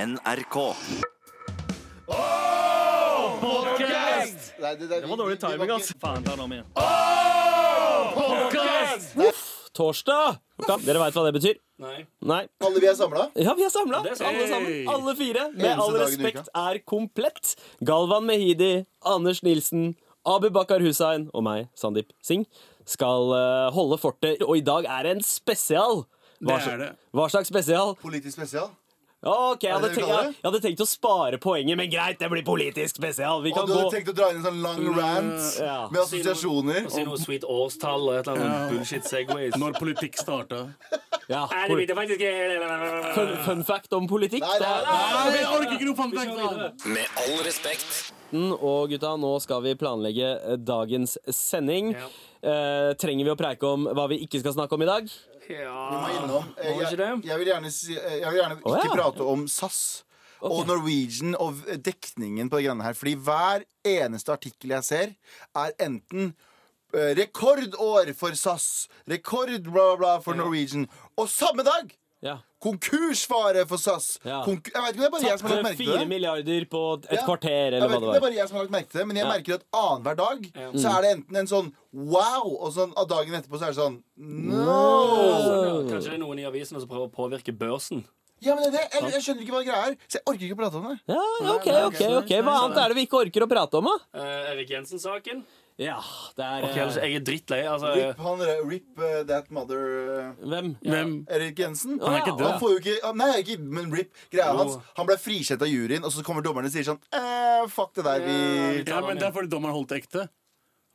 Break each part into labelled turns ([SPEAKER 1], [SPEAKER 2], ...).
[SPEAKER 1] NRK.
[SPEAKER 2] Nei, det, det,
[SPEAKER 3] Det var dårlig timing, ass. Faen, ta den om igjen.
[SPEAKER 4] Torsdag! Dere veit hva det betyr?
[SPEAKER 3] Nei.
[SPEAKER 4] Nei.
[SPEAKER 2] Alle vi er samla.
[SPEAKER 4] Ja, vi er samla.
[SPEAKER 3] Det er sant.
[SPEAKER 4] Alle sammen.
[SPEAKER 3] Hey.
[SPEAKER 4] Alle fire. Med
[SPEAKER 2] Eneste
[SPEAKER 4] all
[SPEAKER 2] dagen i
[SPEAKER 4] respekt er komplett. Galvan Mehidi, Anders Nilsen, Abu Bakar Hussein og meg, Sandeep Singh, skal eh, holde fortet. Og i dag er det en spesial. Hva,
[SPEAKER 3] Det er
[SPEAKER 4] sl-
[SPEAKER 3] det.
[SPEAKER 4] hva slags spesial?
[SPEAKER 2] Politisk spesial.
[SPEAKER 4] Ok, jeg
[SPEAKER 2] det det
[SPEAKER 4] hadde, tenkt,
[SPEAKER 2] vi kaller
[SPEAKER 4] jeg,
[SPEAKER 2] det?
[SPEAKER 4] hadde tenkt å spare poenget, men greit, det blir politisk spesial. Vi
[SPEAKER 2] Og
[SPEAKER 4] kan
[SPEAKER 2] du hadde
[SPEAKER 4] gå
[SPEAKER 2] tenkt å dra inn en sånn lang rant
[SPEAKER 4] ja.
[SPEAKER 2] med assosiasjoner.
[SPEAKER 5] Si noe sweet årstall og et eller annet bullshit segways.
[SPEAKER 3] Når politikk starta.
[SPEAKER 4] ja,
[SPEAKER 5] Nei, det
[SPEAKER 4] pol-
[SPEAKER 5] vet jeg faktisk ikke.
[SPEAKER 4] fun, fun fact om politikk.
[SPEAKER 2] Nei,
[SPEAKER 4] det
[SPEAKER 2] nei,
[SPEAKER 4] er-
[SPEAKER 3] Nei, jeg orker ikke noe fantasi!
[SPEAKER 1] Med all respekt.
[SPEAKER 4] Og gutta, nå skal vi planlegge eh, dagens sending.
[SPEAKER 5] Ja.
[SPEAKER 4] Eh, trenger vi å preike om hva vi ikke skal snakke om i dag?
[SPEAKER 5] Ja.
[SPEAKER 2] Innom. Eh,
[SPEAKER 5] Må
[SPEAKER 2] Jeg,
[SPEAKER 5] ikke det?
[SPEAKER 2] jeg vil gjerne, si, eh, jeg vil gjerne
[SPEAKER 4] Å,
[SPEAKER 2] ikke
[SPEAKER 4] ja.
[SPEAKER 2] prate om SAS og Norwegian og v- dekningen på det greiene her. Fordi hver eneste artikkel jeg ser, er enten eh, rekordår for SAS, rekord bla, bla, bla for Norwegian, og samme dag
[SPEAKER 4] Ja.
[SPEAKER 2] konkursfare for SAS.
[SPEAKER 4] Ja.
[SPEAKER 2] Konku jeg vet ikke, om det er bare jeg som har lagt merke til
[SPEAKER 4] Fire
[SPEAKER 2] det.
[SPEAKER 4] milliarder på et
[SPEAKER 2] Ja.
[SPEAKER 4] kvarter,
[SPEAKER 2] Jeg
[SPEAKER 4] eller
[SPEAKER 2] vet ikke,
[SPEAKER 4] hva det
[SPEAKER 2] det er
[SPEAKER 4] var.
[SPEAKER 2] bare jeg som har lagt merke til det, men jeg
[SPEAKER 4] Ja.
[SPEAKER 2] merker at annenhver dag så er det enten en sånn wow, og sånn av dagen etterpå så er det sånn no!
[SPEAKER 5] Kanskje det er noen i avisen som prøver å påvirke børsen.
[SPEAKER 2] Ja, men det, er det. jeg, jeg skjønner ikke hva greia er, så jeg orker ikke å prate om det.
[SPEAKER 4] Ja, ok, ok, ok. Hva annet er det vi ikke orker å prate om, da?
[SPEAKER 5] Eh, Erik Jensen-saken.
[SPEAKER 4] Ja, det er
[SPEAKER 5] Ok, altså,
[SPEAKER 4] eh,
[SPEAKER 5] Jeg er drittlei. Altså,
[SPEAKER 2] Rip, han, der- rip eh, that mother eh,
[SPEAKER 4] Hvem?
[SPEAKER 3] Hvem?
[SPEAKER 2] Erik Jensen.
[SPEAKER 4] Han er ikke død.
[SPEAKER 2] Han får jo ikke, ah, nei, ikke, men rip, greia
[SPEAKER 5] Jo.
[SPEAKER 2] hans Han ble frikjent av juryen, og så kommer dommerne og sier sånn eh, Fuck det der, vi
[SPEAKER 3] Ja, men Det er fordi dommeren holdt det ekte.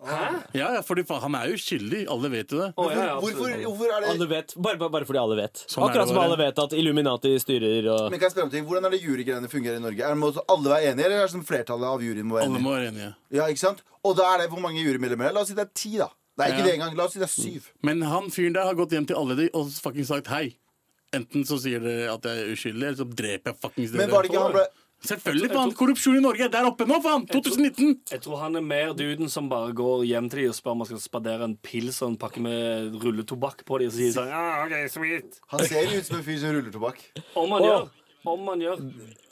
[SPEAKER 3] Hæ? Ja, ja, fordi faen, Han er jo skyldig. Alle vet jo det.
[SPEAKER 5] Å, ja, ja, absolutt.
[SPEAKER 2] hvorfor, hvorfor er det
[SPEAKER 4] Alle vet, bare, bare- bare fordi alle vet.
[SPEAKER 3] Sånn er det
[SPEAKER 4] Akkurat som
[SPEAKER 3] bare.
[SPEAKER 4] alle vet at Illuminati styrer og
[SPEAKER 2] men kan jeg spørre om ting? Hvordan er det jurygreiene fungerer i Norge? Er det må alle være enige, eller er det som flertallet av juryen må være
[SPEAKER 3] Alle
[SPEAKER 2] enige?
[SPEAKER 3] må være enige.
[SPEAKER 2] Ja, ikke sant? Og da er det hvor mange jurymedlemmer? det er? La oss si det er ti, da. Det er ikke
[SPEAKER 3] Ja.
[SPEAKER 2] det engang. La oss si det er syv.
[SPEAKER 3] Men han fyren der har gått hjem til alle de og fucking sagt hei. Enten så sier dere at jeg er uskyldig, eller så dreper jeg fuckings dere.
[SPEAKER 2] Men var det ikke han ble
[SPEAKER 3] Selvfølgelig, faen! Korrupsjon i Norge er der oppe nå, faen! 2019!
[SPEAKER 5] jeg tror han er mer duden som bare går hjem til de og spør om han skal spandere en pils og en pakke med rulletobakk på de og sier sånn Ja, OK, sweet.
[SPEAKER 2] Han ser ut som en fyr som ruller tobakk.
[SPEAKER 5] Om
[SPEAKER 4] Å.
[SPEAKER 5] han gjør. Om han gjør.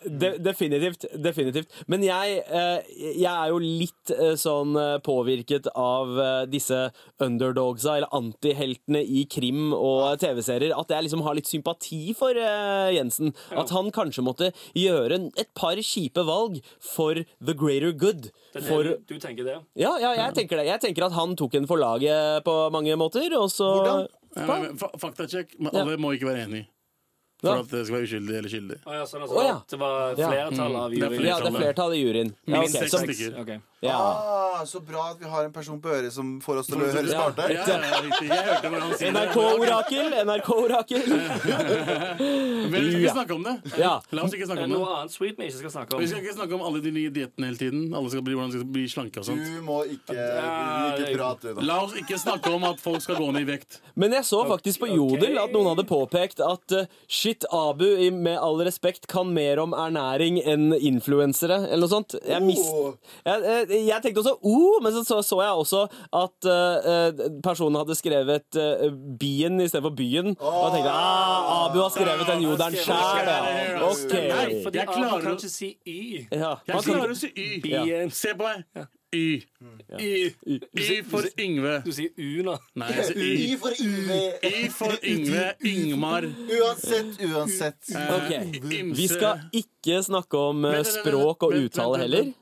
[SPEAKER 4] De, definitivt. definitivt Men jeg, eh, jeg er jo litt eh, sånn eh, påvirket av eh, disse underdogsa, eller antiheltene i krim og TV-serier, at jeg liksom har litt sympati for eh, Jensen. At han kanskje måtte gjøre en- et par kjipe valg for the greater good.
[SPEAKER 5] Det er det
[SPEAKER 4] For,
[SPEAKER 5] du, du tenker det?
[SPEAKER 4] ja, ja, jeg tenker det. Jeg tenker at han tok en for laget på mange måter, og så
[SPEAKER 2] Hvordan?
[SPEAKER 3] Ja, men, men, fa- Faktasjekk. Men alle må ikke være enige. For
[SPEAKER 4] Ja.
[SPEAKER 3] at det skal være uskyldig eller skyldig.
[SPEAKER 5] Å ja, Mm. sånn altså,
[SPEAKER 4] Å, ja.
[SPEAKER 5] Det var flertallet av
[SPEAKER 3] Det er
[SPEAKER 5] juryen.
[SPEAKER 4] Ja, det er flertallet i juryen. Ja,
[SPEAKER 3] Minst
[SPEAKER 4] ok,
[SPEAKER 3] seks
[SPEAKER 4] som-
[SPEAKER 3] stykker.
[SPEAKER 5] Ok.
[SPEAKER 4] ja.
[SPEAKER 2] Ah, så bra at vi har en person på øret som får oss til å høre
[SPEAKER 3] Ja,
[SPEAKER 2] smarte.
[SPEAKER 3] ja, ja, riktig. jeg hørte hva han sa.
[SPEAKER 4] NRK-orakel! NRK-orakel!
[SPEAKER 3] Men vi skal
[SPEAKER 4] Ja.
[SPEAKER 3] ikke snakke om det.
[SPEAKER 4] Ja.
[SPEAKER 3] La oss ikke
[SPEAKER 5] Det
[SPEAKER 3] snakke
[SPEAKER 5] er
[SPEAKER 3] om det.
[SPEAKER 5] noe annet sweet vi ikke skal snakke om.
[SPEAKER 3] Vi skal ikke snakke om alle de nye diettene hele tiden. Alle skal bli, hvordan de skal bli slanke og
[SPEAKER 2] Du
[SPEAKER 3] sånt.
[SPEAKER 2] må ikke,
[SPEAKER 5] det
[SPEAKER 2] ikke
[SPEAKER 5] er-
[SPEAKER 2] prate. Da.
[SPEAKER 3] La oss ikke snakke om at folk skal gå ned i vekt.
[SPEAKER 4] Men jeg så faktisk på Jodel at noen hadde påpekt at eh, shit, Abu i- med all respekt kan mer om ernæring enn influensere, eller noe sånt. Jeg, mist,
[SPEAKER 2] Oh.
[SPEAKER 4] jeg, jeg, eh, jeg tenkte også oh, men så, så så jeg også at eh, eh, personen hadde skrevet eh, bien istedenfor byen. Og jeg tenkte ah, Abu har skrevet den jodelen sjæl, ja.
[SPEAKER 3] altså? Nei,
[SPEAKER 4] OK.
[SPEAKER 5] Eh, Fordi
[SPEAKER 3] Jeg
[SPEAKER 5] jeg
[SPEAKER 3] klarer-
[SPEAKER 5] kan ikke si Y.
[SPEAKER 4] Ja.
[SPEAKER 3] Jeg klarer å si Y.
[SPEAKER 5] Ja.
[SPEAKER 3] Se på meg. Y. Y. Y for Yngve.
[SPEAKER 5] Du sier U nå.
[SPEAKER 3] Nei, jeg sier
[SPEAKER 2] I
[SPEAKER 3] Y.
[SPEAKER 2] for UV.
[SPEAKER 3] Y for Yngve. Yngmar.
[SPEAKER 2] Uansett, uansett.
[SPEAKER 4] Ok.
[SPEAKER 3] Ymse.
[SPEAKER 4] Vi skal ikke snakke om eh,
[SPEAKER 3] Vent, vent, vent,
[SPEAKER 4] språk og
[SPEAKER 3] vent, vent,
[SPEAKER 4] uttale
[SPEAKER 3] vent,
[SPEAKER 4] heller.
[SPEAKER 3] vent.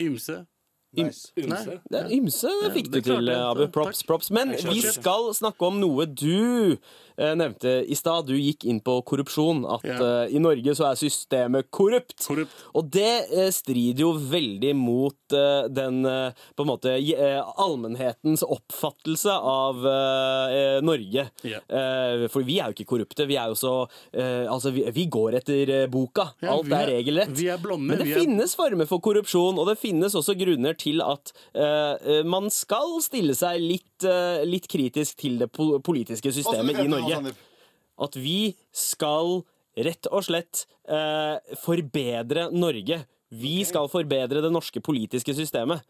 [SPEAKER 3] Ymse.
[SPEAKER 2] Nice.
[SPEAKER 5] Ymse.
[SPEAKER 4] Det er ymse det fikk du
[SPEAKER 3] det er klart
[SPEAKER 4] til,
[SPEAKER 3] det.
[SPEAKER 4] Abu. Props,
[SPEAKER 3] Takk.
[SPEAKER 4] props. Men
[SPEAKER 5] skjønner
[SPEAKER 4] vi
[SPEAKER 5] ikke.
[SPEAKER 4] skal snakke om noe du eh, nevnte i stad. Du gikk inn på korrupsjon. At
[SPEAKER 3] Ja.
[SPEAKER 4] eh, i Norge så er systemet korrupt.
[SPEAKER 3] Korrupt.
[SPEAKER 4] Og det eh, strider jo veldig mot eh, den eh, på en måte je- eh, allmennhetens oppfattelse av eh, eh, Norge.
[SPEAKER 3] Ja.
[SPEAKER 4] Eh, for vi er jo ikke korrupte. Vi er jo så eh, Altså, vi, vi går etter eh, boka.
[SPEAKER 3] Ja,
[SPEAKER 4] Alt
[SPEAKER 3] vi
[SPEAKER 4] er
[SPEAKER 3] er-
[SPEAKER 4] regelrett.
[SPEAKER 3] vi er blonde,
[SPEAKER 4] Men det
[SPEAKER 3] vi er-
[SPEAKER 4] finnes former for korrupsjon, og det finnes også grunner til at eh, eh, man skal stille seg litt, eh, litt kritisk til det po politiske
[SPEAKER 2] Og så frem
[SPEAKER 4] systemet i
[SPEAKER 2] til nå,
[SPEAKER 4] Norge.
[SPEAKER 2] Sandeep.
[SPEAKER 4] At vi skal rett og slett eh, forbedre Norge. Vi skal forbedre det norske politiske systemet.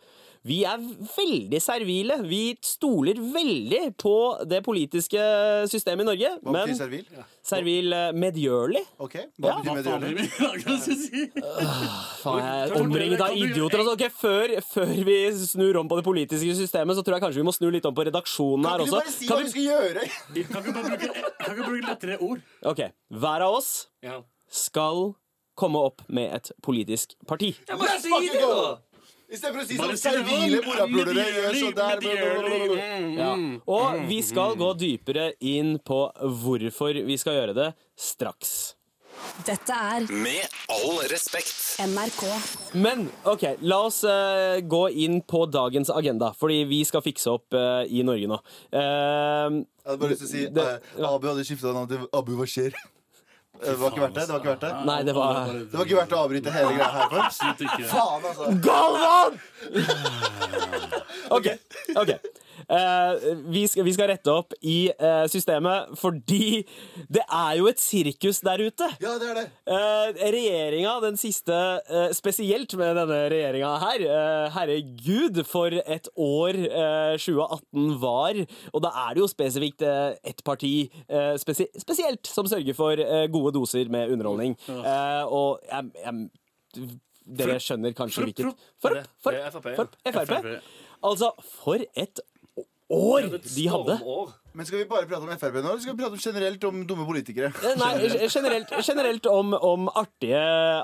[SPEAKER 4] Vi er veldig servile. Vi stoler veldig på det politiske systemet i Norge.
[SPEAKER 2] Hva betyr
[SPEAKER 4] men
[SPEAKER 2] servil?
[SPEAKER 4] servil eh, medgjørlig.
[SPEAKER 2] Ok, hva
[SPEAKER 4] Ja.
[SPEAKER 2] betyr
[SPEAKER 3] Hva faen
[SPEAKER 2] medgjørlig?
[SPEAKER 3] driver vi med? Hva skal jeg si?
[SPEAKER 4] Faen, jeg er
[SPEAKER 3] Kan du-
[SPEAKER 4] omringet av
[SPEAKER 3] kan du-
[SPEAKER 4] idioter. Altså, ok, før, før vi snur om på det politiske systemet, så tror jeg kanskje vi må snu litt om på redaksjonen
[SPEAKER 2] Kan
[SPEAKER 4] her
[SPEAKER 2] ikke du
[SPEAKER 4] også.
[SPEAKER 2] bare si hva
[SPEAKER 4] Kan
[SPEAKER 2] vi
[SPEAKER 4] vi...
[SPEAKER 2] skal gjøre?
[SPEAKER 3] Kan ikke bare bruke, kan ikke bruke lettere ord?
[SPEAKER 4] Ok, Hver av oss
[SPEAKER 5] Ja.
[SPEAKER 4] skal komme opp med et politisk parti.
[SPEAKER 5] Jeg må
[SPEAKER 2] Let's
[SPEAKER 5] si
[SPEAKER 2] fucking
[SPEAKER 5] det,
[SPEAKER 2] go!
[SPEAKER 5] da!
[SPEAKER 2] Istedenfor å si
[SPEAKER 3] Bare
[SPEAKER 2] sånn
[SPEAKER 3] si det,
[SPEAKER 2] servile
[SPEAKER 3] «Å,
[SPEAKER 2] morapulere gjør
[SPEAKER 3] medgjørlig,
[SPEAKER 2] sånn der
[SPEAKER 3] medgjørlig».
[SPEAKER 4] Ja.
[SPEAKER 2] Mm.
[SPEAKER 4] Og vi skal gå dypere inn på hvorfor vi skal gjøre det, straks.
[SPEAKER 6] Dette er
[SPEAKER 1] Med all respekt.
[SPEAKER 6] NRK.
[SPEAKER 4] Men ok, la oss eh, gå inn på dagens agenda, fordi vi skal fikse opp eh, i Norge nå. Eh,
[SPEAKER 2] Jeg hadde bare lyst til å si
[SPEAKER 4] Det-
[SPEAKER 2] eh, Abu hadde skifta navn til Abu Bashir. Det var ikke verdt det. Det var ikke verdt det
[SPEAKER 4] Nei, det var-
[SPEAKER 2] Det var ikke verdt å avbryte hele greia her for.
[SPEAKER 3] Absolutt ikke.
[SPEAKER 2] Faen, altså.
[SPEAKER 4] Galvan! OK. ok Eh, vi, skal, vi skal rette opp i eh, systemet, fordi det er jo et sirkus der ute.
[SPEAKER 2] Ja, det er det.
[SPEAKER 4] Uh, regjeringa, den siste, eh, spesielt med denne regjeringa her eh, Herregud, for et år eh, 2018 var. Og da er det jo spesifikt eh, ett parti eh, spesi spesielt som sørger for eh, gode doser med underholdning. Eh, og jeg, jeg, dere skjønner kanskje
[SPEAKER 3] Frupp,
[SPEAKER 4] hvilket
[SPEAKER 5] Det
[SPEAKER 4] Forp,
[SPEAKER 5] er-
[SPEAKER 4] forp,
[SPEAKER 5] det er FrP, ja.
[SPEAKER 4] forp, Frp.
[SPEAKER 3] FrP.
[SPEAKER 4] Altså, for et år de hadde!
[SPEAKER 5] Stormår.
[SPEAKER 2] Men skal vi bare prate om Frp nå, eller skal vi prate om generelt om dumme politikere?
[SPEAKER 4] Eh, Nei, generelt, generelt om, om artige,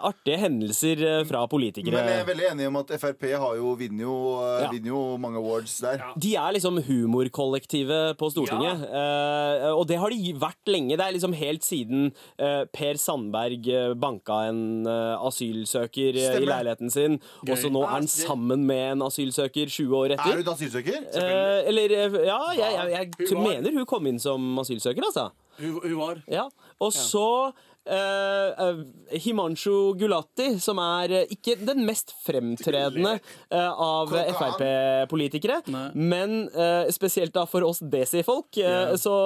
[SPEAKER 4] artige hendelser eh, fra
[SPEAKER 2] Men jeg er
[SPEAKER 4] politikere.
[SPEAKER 2] veldig enig om at Frp har jo vinner jo, eh,
[SPEAKER 4] Ja.
[SPEAKER 2] vinner jo mange awards der.
[SPEAKER 5] Ja.
[SPEAKER 4] De er liksom humorkollektivet på Stortinget. eh, og det har de vært lenge. Det er liksom helt siden eh, Per Sandberg eh, banka en eh, asylsøker eh, i
[SPEAKER 2] Stemmer.
[SPEAKER 4] leiligheten sin, og så nå er han sammen med en asylsøker 20 år
[SPEAKER 2] Er
[SPEAKER 4] etter.
[SPEAKER 2] du en asylsøker?
[SPEAKER 4] Eh, eller eh, Ja, jeg, jeg, jeg
[SPEAKER 3] Hun var-
[SPEAKER 4] mener hun kom inn som asylsøker, altså.
[SPEAKER 3] Hun, hun var
[SPEAKER 4] Ja, og så eh, eh, Himanshu Gulati, som er eh, ikke den mest fremtredende eh, av
[SPEAKER 2] Klokka an.
[SPEAKER 4] Frp-politikere,
[SPEAKER 3] Nei.
[SPEAKER 4] men eh, spesielt da for oss desi-folk, eh,
[SPEAKER 3] Ja.
[SPEAKER 4] så,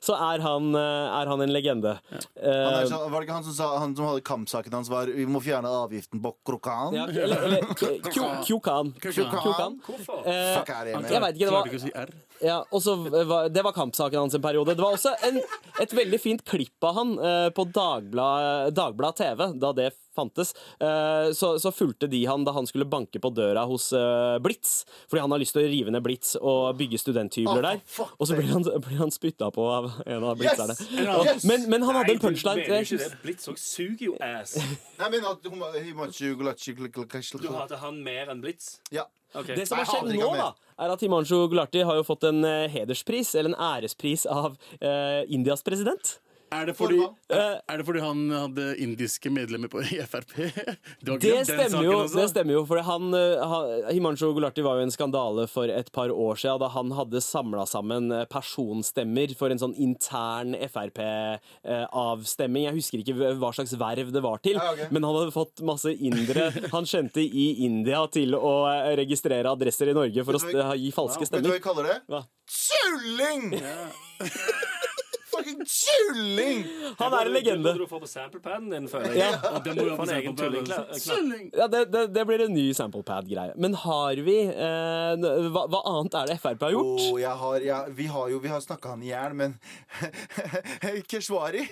[SPEAKER 4] så er, han, eh, er han en legende.
[SPEAKER 2] Han
[SPEAKER 4] Eh,
[SPEAKER 2] er sånn- var det ikke han som, sa, han som hadde kampsaken hans var Vi må fjerne avgiften på krokan?
[SPEAKER 4] ja, eller eller Kyo- Kyokan.
[SPEAKER 3] Kyokan.
[SPEAKER 4] Kyokan.
[SPEAKER 5] Hvorfor?
[SPEAKER 4] Eh,
[SPEAKER 2] Fuck er det med?
[SPEAKER 4] Jeg vet ikke, det var-
[SPEAKER 3] Klarte ikke å si R.
[SPEAKER 4] Ja, og så var, Det var kampsaken hans en periode. Det var også en, et veldig fint klipp av han eh, på Dagblad, Dagblad TV, da det fantes. Eh, så, så fulgte de han da han skulle banke på døra hos eh, Blitz, fordi han har lyst til å rive ned Blitz og bygge studenthybler
[SPEAKER 2] Ah,
[SPEAKER 4] der.
[SPEAKER 2] fuck
[SPEAKER 4] Og så blir han, blir han spytta på av en av
[SPEAKER 2] Yes!
[SPEAKER 4] blitzerne.
[SPEAKER 2] Yes!
[SPEAKER 4] Men, men han hadde en punchline.
[SPEAKER 5] Nei, du mener
[SPEAKER 4] Jeg-
[SPEAKER 5] ikke det. Blitz òg suger jo ass.
[SPEAKER 2] Nei, men at hun var- Himanshu Gulachi
[SPEAKER 5] Du hater han mer enn Blitz?
[SPEAKER 2] Ja.
[SPEAKER 5] Ok.
[SPEAKER 4] Det som
[SPEAKER 2] Nei,
[SPEAKER 4] har skjedd
[SPEAKER 2] jeg aner
[SPEAKER 4] nå,
[SPEAKER 2] ikke
[SPEAKER 4] da,
[SPEAKER 2] hva
[SPEAKER 4] er at Himanshu Gulati har jo fått en eh, hederspris, eller en ærespris, av eh, Indias president.
[SPEAKER 3] Er det fordi,
[SPEAKER 2] Formann.
[SPEAKER 4] Eh,
[SPEAKER 3] er det fordi han hadde indiske medlemmer på E i Frp? Det, var ikke
[SPEAKER 4] Det
[SPEAKER 3] den saken
[SPEAKER 4] stemmer, jo,
[SPEAKER 3] også.
[SPEAKER 4] det stemmer jo, for han, eh, han- Himanshu Gulati var jo en skandale for et par år siden da han hadde samla sammen eh, personstemmer for en sånn intern Frp-avstemning. eh, Jeg husker ikke hva- hva slags verv det var til,
[SPEAKER 2] Ja, ok.
[SPEAKER 4] men han hadde fått masse indere han kjente i India til å eh, registrere adresser i Norge for å st- gi falske
[SPEAKER 2] Vet du hva
[SPEAKER 4] stemmer.
[SPEAKER 2] vi kaller det?
[SPEAKER 4] Hva?
[SPEAKER 2] Tulling! Fucking tulling!
[SPEAKER 4] Han er en legende.
[SPEAKER 5] Det burde du få på samplepaden din, føler jeg.
[SPEAKER 4] Ja.
[SPEAKER 3] Ja, det må jo
[SPEAKER 5] For en egen tulling, klar- knapp.
[SPEAKER 3] altså. Tulling!
[SPEAKER 4] Ja, det, det, det blir en ny samplepad-greie. Men har vi eh, n- hva, hva annet er det Frp har gjort?
[SPEAKER 2] Åh, jeg har, jeg, vi har jo vi har snakka han i hjel, men Keshvari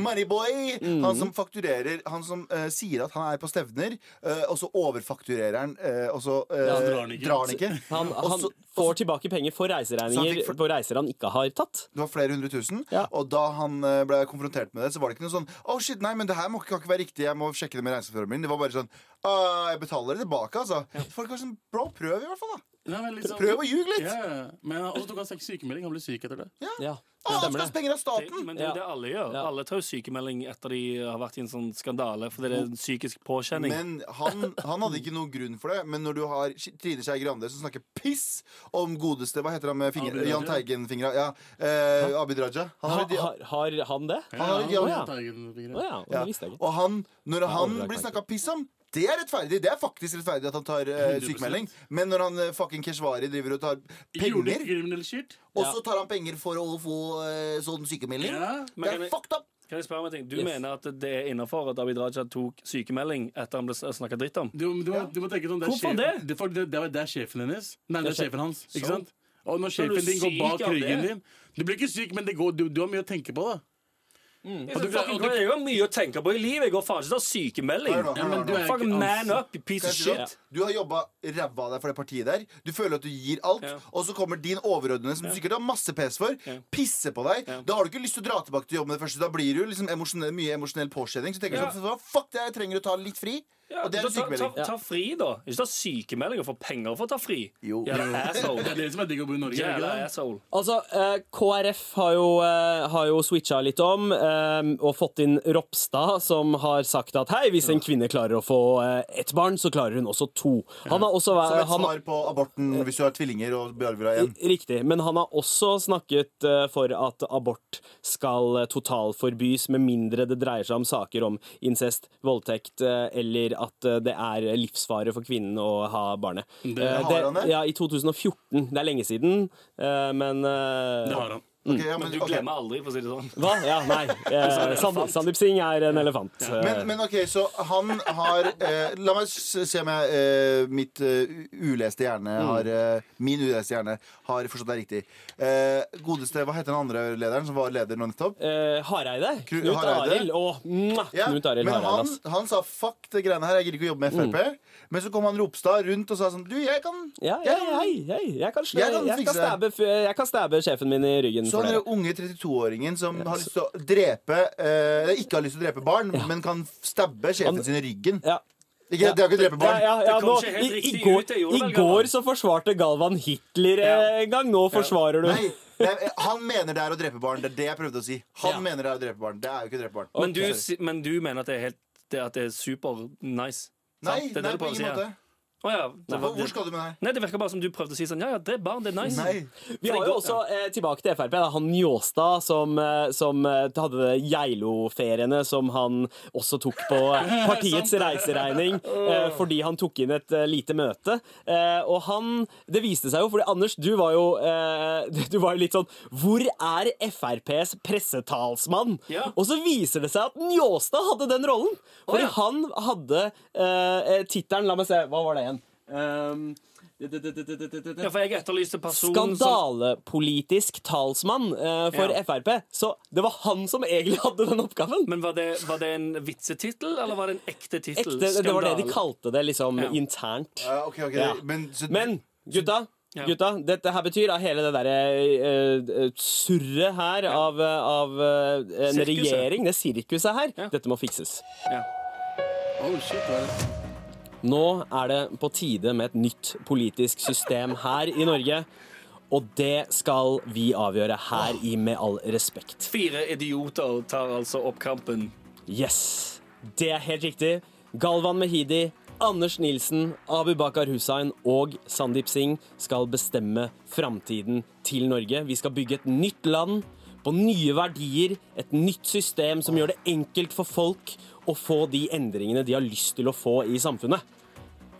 [SPEAKER 2] Moneyboy! Han som fakturerer Han som eh, sier at han er på stevner, eh, og så overfakturerer han, eh, og så eh,
[SPEAKER 3] Ja, drar han ikke.
[SPEAKER 2] drar han ikke.
[SPEAKER 4] Han,
[SPEAKER 2] Og
[SPEAKER 4] han
[SPEAKER 2] så-
[SPEAKER 4] får tilbake penger for
[SPEAKER 2] Så han
[SPEAKER 4] reiseregninger
[SPEAKER 2] fikk for-
[SPEAKER 4] på reiser han ikke har tatt.
[SPEAKER 2] det var flere hundre tusen,
[SPEAKER 4] Ja.
[SPEAKER 2] og da han eh, ble konfrontert med det, så var det ikke noe sånn Å, shit, nei, men det her må, kan ikke være riktig, jeg må sjekke det med reiseføreren min. Det var bare sånn «Ah, Jeg betaler det tilbake, altså. Folk var sånn Bro, prøv i hvert fall, da.
[SPEAKER 3] Nei, men liksom-
[SPEAKER 2] Prøv å ljuge litt.
[SPEAKER 3] Ja, ja, ja. Men han- også tok han seks sykemelding. Han ble syk etter det.
[SPEAKER 4] Ja,
[SPEAKER 2] Å, han skal
[SPEAKER 4] stemmer
[SPEAKER 2] ha
[SPEAKER 4] det.
[SPEAKER 2] penger av staten!
[SPEAKER 5] Men det er jo
[SPEAKER 4] Ja.
[SPEAKER 5] det alle gjør.
[SPEAKER 4] Ja.
[SPEAKER 5] Alle tar jo sykemelding etter de har vært i en sånn skandale, for det er
[SPEAKER 4] Mm.
[SPEAKER 5] en psykisk påkjenning.
[SPEAKER 2] Men han, han hadde ikke noe grunn for det. Men når du har Sk- Trine Skei Grande som snakker piss om godeste Hva heter han med finger,
[SPEAKER 3] Abid Raja.
[SPEAKER 2] Jahn Teigen-fingra? Ja, eh, Abid Raja. Han
[SPEAKER 4] Ha,
[SPEAKER 2] har,
[SPEAKER 4] har, har han det? Å
[SPEAKER 2] han har,
[SPEAKER 3] Ja,
[SPEAKER 2] han
[SPEAKER 4] ja.
[SPEAKER 3] han tar egen fingre.
[SPEAKER 4] ja, og det
[SPEAKER 2] ja.
[SPEAKER 4] visste jeg ikke.
[SPEAKER 2] Og han, når han
[SPEAKER 4] aldri lagt
[SPEAKER 2] blir
[SPEAKER 4] merke
[SPEAKER 2] snakka piss om det er rettferdig. Det er faktisk rettferdig at han tar eh,
[SPEAKER 3] 100%.
[SPEAKER 2] sykemelding. Men når han eh, fucking Keshvari driver og tar
[SPEAKER 3] Gjorde
[SPEAKER 2] penger,
[SPEAKER 3] ikke criminal shit?
[SPEAKER 2] og så tar han penger for å få eh, sånn sykemelding
[SPEAKER 3] Ja.
[SPEAKER 2] Det er
[SPEAKER 5] Men-
[SPEAKER 2] fucked up!
[SPEAKER 5] Kan Kan jeg spørre om en ting? Du
[SPEAKER 4] Yes.
[SPEAKER 5] mener at det er innafor at Abid Raja tok sykemelding etter han ble snakka dritt om?
[SPEAKER 3] Du, du, må, du må tenke sånn det er
[SPEAKER 5] Hvorfor
[SPEAKER 3] sjef-
[SPEAKER 5] det?
[SPEAKER 3] Det, for det, det, er- det er sjefen hennes. Nei, det er
[SPEAKER 4] sjef-
[SPEAKER 3] sjefen hans. Ikke
[SPEAKER 5] Sånn.
[SPEAKER 3] sant? Og når
[SPEAKER 5] er du
[SPEAKER 3] sjefen din går
[SPEAKER 5] syk
[SPEAKER 3] bak
[SPEAKER 5] av det.
[SPEAKER 3] ryggen din Du blir ikke syk, men det går, du, du har mye å tenke på. da
[SPEAKER 4] Mm.
[SPEAKER 5] Jeg synes fucking Det er jo mye å tenke på i livet. Jeg går faen ikke til sykemelding.
[SPEAKER 2] Hør nå,
[SPEAKER 3] Ja,
[SPEAKER 2] hør nå,
[SPEAKER 3] men
[SPEAKER 2] hør
[SPEAKER 3] du
[SPEAKER 2] nå.
[SPEAKER 3] er
[SPEAKER 5] Fucking
[SPEAKER 3] ikke
[SPEAKER 5] man
[SPEAKER 3] ans-
[SPEAKER 5] up, you piece of
[SPEAKER 2] Skal jeg si
[SPEAKER 5] shit.
[SPEAKER 2] det? Du har jobba ræva av deg for det partiet der. Du føler at du gir alt,
[SPEAKER 5] Ja.
[SPEAKER 2] og så kommer din overordnede, som du sikkert har masse pes for, pisser på deg. Da har du ikke lyst til å dra tilbake til jobb med det første. Da blir du liksom emosjonell, mye emosjonell påkjenning. Så tenker du
[SPEAKER 5] Ja.
[SPEAKER 2] sånn Fuck det, jeg trenger å ta litt fri.
[SPEAKER 5] Ja,
[SPEAKER 2] og det er
[SPEAKER 5] da
[SPEAKER 2] en
[SPEAKER 5] ta, ta,
[SPEAKER 2] sykemelding.
[SPEAKER 5] ta, fri, da. Ikke ta sykemelding og få penger for å ta fri.
[SPEAKER 2] Jo.
[SPEAKER 5] Jævla
[SPEAKER 3] Det
[SPEAKER 5] asshole.
[SPEAKER 3] er det som er digg å bo i Norge. er det
[SPEAKER 5] Jævla
[SPEAKER 3] ikke det?
[SPEAKER 5] asshole.
[SPEAKER 4] Altså, eh, KrF har jo, eh, har jo switcha litt om, eh, og fått inn Ropstad, som har sagt at hei, hvis en kvinne klarer å få eh, ett barn, så klarer hun også to. Han har også
[SPEAKER 2] Som et
[SPEAKER 4] Eh, han,
[SPEAKER 2] svar på aborten hvis du har tvillinger og bearver deg igjen.
[SPEAKER 4] Riktig. Men han har også snakket eh, for at abort skal eh, totalforbys, med mindre det dreier seg om saker om incest, voldtekt eh, eller at eh, det er livsfare for kvinnen å ha barnet.
[SPEAKER 3] Det
[SPEAKER 4] Eh,
[SPEAKER 2] har han det?
[SPEAKER 4] Ja, i 2014. Det er lenge siden, eh, men eh,
[SPEAKER 3] Det har han.
[SPEAKER 2] Ok, ja,
[SPEAKER 5] Men du
[SPEAKER 2] ok.
[SPEAKER 5] glemmer aldri, for å si det sånn.
[SPEAKER 4] Hva? Ja, nei. Eh, Sand- Sandeep Singh er en elefant.
[SPEAKER 2] Men, men ok, så han har eh, La meg s- se om jeg eh, mitt eh, u- uleste hjerne
[SPEAKER 4] Mm.
[SPEAKER 2] har eh, Min uleste hjerne har forstått deg riktig. Eh, godeste, hva heter den andre lederen som var leder nå nettopp?
[SPEAKER 4] Eh, Hareide.
[SPEAKER 2] Kru-
[SPEAKER 4] Knut
[SPEAKER 2] Hareide?
[SPEAKER 4] Arild. Å, mwah,
[SPEAKER 2] Ja,
[SPEAKER 4] Knut Arild
[SPEAKER 2] men
[SPEAKER 4] Hareide.
[SPEAKER 2] han,
[SPEAKER 4] ass. Mm.
[SPEAKER 2] han sa fuck det greiene her, jeg gidder ikke å jobbe med Frp. Men så kom han Ropstad rundt og sa sånn Du, jeg kan,
[SPEAKER 4] Ja, ja,
[SPEAKER 2] jeg kan
[SPEAKER 4] hei, hei. Jeg kan, slå,
[SPEAKER 2] Jeg kan
[SPEAKER 4] jeg, kan
[SPEAKER 2] fikse Sånn
[SPEAKER 4] stabbe, f- jeg kan stabbe sjefen min i ryggen.
[SPEAKER 2] Så
[SPEAKER 4] for
[SPEAKER 2] han
[SPEAKER 4] dere.
[SPEAKER 2] er den unge 32-åringen som har lyst til å drepe eh, eller Ikke har lyst til å drepe barn, men kan stabbe sjefen sin i ryggen.
[SPEAKER 4] Ja.
[SPEAKER 2] Ikke, Det er jo ikke å drepe barn.
[SPEAKER 4] Ja, ja, ja,
[SPEAKER 5] Det kom
[SPEAKER 4] nå,
[SPEAKER 5] ikke
[SPEAKER 4] i,
[SPEAKER 5] helt
[SPEAKER 4] i,
[SPEAKER 5] riktig
[SPEAKER 4] går,
[SPEAKER 5] ut, det gjorde
[SPEAKER 4] I
[SPEAKER 5] vel
[SPEAKER 4] går
[SPEAKER 5] Galvan?
[SPEAKER 4] så forsvarte Galvan Hitler eh,
[SPEAKER 5] Ja.
[SPEAKER 4] en gang. Nå forsvarer du
[SPEAKER 2] Nei, nei, han mener det er å drepe barn. Det er det jeg prøvde å si. Han
[SPEAKER 4] Ja.
[SPEAKER 2] mener det er å drepe barn. Det er jo ikke å drepe barn.
[SPEAKER 5] Men du, si- men du mener at det er, helt, det, at det er super nice?
[SPEAKER 2] Nei,
[SPEAKER 5] Sant? Det er det
[SPEAKER 2] nei
[SPEAKER 5] du
[SPEAKER 2] på
[SPEAKER 5] prøver å si
[SPEAKER 2] ingen
[SPEAKER 5] her.
[SPEAKER 2] måte.
[SPEAKER 5] Å ja, det Mm.
[SPEAKER 2] Hvor,
[SPEAKER 5] var-
[SPEAKER 2] hvor skal du med det her?
[SPEAKER 5] Nei, Det virker bare som du prøvde å si sånn Ja, ja, det er barn, det er nice.
[SPEAKER 2] Nei.
[SPEAKER 4] Vi har jo også eh, tilbake til Frp. Da, han Njåstad som, eh, som eh, hadde de Geilo-feriene som han også tok på eh, partiets reiseregning eh, fordi han tok inn et eh, lite møte. Eh, og han Det viste seg jo, fordi Anders, du var jo eh, Du var jo litt sånn Hvor er FrPs pressetalsmann?
[SPEAKER 5] Ja.
[SPEAKER 4] Og så viser det seg at Njåstad hadde den rollen! Fordi
[SPEAKER 5] ja.
[SPEAKER 4] han hadde eh, tittelen La meg se, hva var det igjen? Um,
[SPEAKER 5] Ja, for jeg etterlyste personen som
[SPEAKER 4] skandalepolitisk talsmann eh, for
[SPEAKER 5] Ja.
[SPEAKER 4] Frp. Så det var han som egentlig hadde den oppgaven.
[SPEAKER 5] Men var det, var det en vitsetittel, eller var det en ekte tittel?
[SPEAKER 4] Ekte, det var det de
[SPEAKER 5] Skandale.
[SPEAKER 4] kalte det liksom
[SPEAKER 5] Ja.
[SPEAKER 4] internt.
[SPEAKER 2] Ja, ok, ok.
[SPEAKER 4] Ja.
[SPEAKER 2] Men, så,
[SPEAKER 4] Men gutta,
[SPEAKER 5] Ja.
[SPEAKER 4] gutta dette her betyr at hele det derre uh, surret her av, eh, av eh, en
[SPEAKER 5] Sirkuset.
[SPEAKER 4] regjering, det sirkuset her,
[SPEAKER 5] Ja.
[SPEAKER 4] dette må fikses.
[SPEAKER 5] Ja.
[SPEAKER 3] Oh, shit, hva er det?
[SPEAKER 4] Nå er det på tide med et nytt politisk system her i Norge. Og det skal vi avgjøre her i Med all respekt.
[SPEAKER 5] Fire idioter tar altså opp kampen.
[SPEAKER 4] Yes, det er helt riktig. Galvan Mehidi, Anders Nilsen, Abubakar Hussein og Sandeep Singh skal bestemme framtiden til Norge. Vi skal bygge et nytt land på nye verdier, et nytt system som gjør det enkelt for folk å få de endringene de har lyst til å få i samfunnet.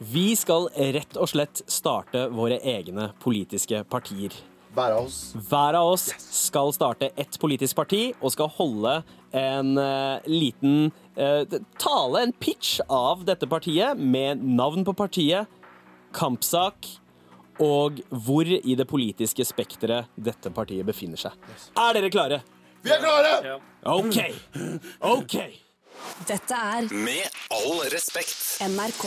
[SPEAKER 4] Vi skal rett og slett starte våre egne politiske partier.
[SPEAKER 2] bæra oss.
[SPEAKER 5] Mm.
[SPEAKER 4] Hver av oss skal starte ett politisk parti og skal holde en eh, liten eh, tale, en pitch av dette partiet, med navn på partiet, kampsak og hvor i det politiske spekteret dette partiet befinner seg. Er dere klare?
[SPEAKER 2] Vi er klare!
[SPEAKER 5] Ja.
[SPEAKER 4] OK. OK.
[SPEAKER 6] Dette er
[SPEAKER 1] Med all respekt.
[SPEAKER 6] NRK.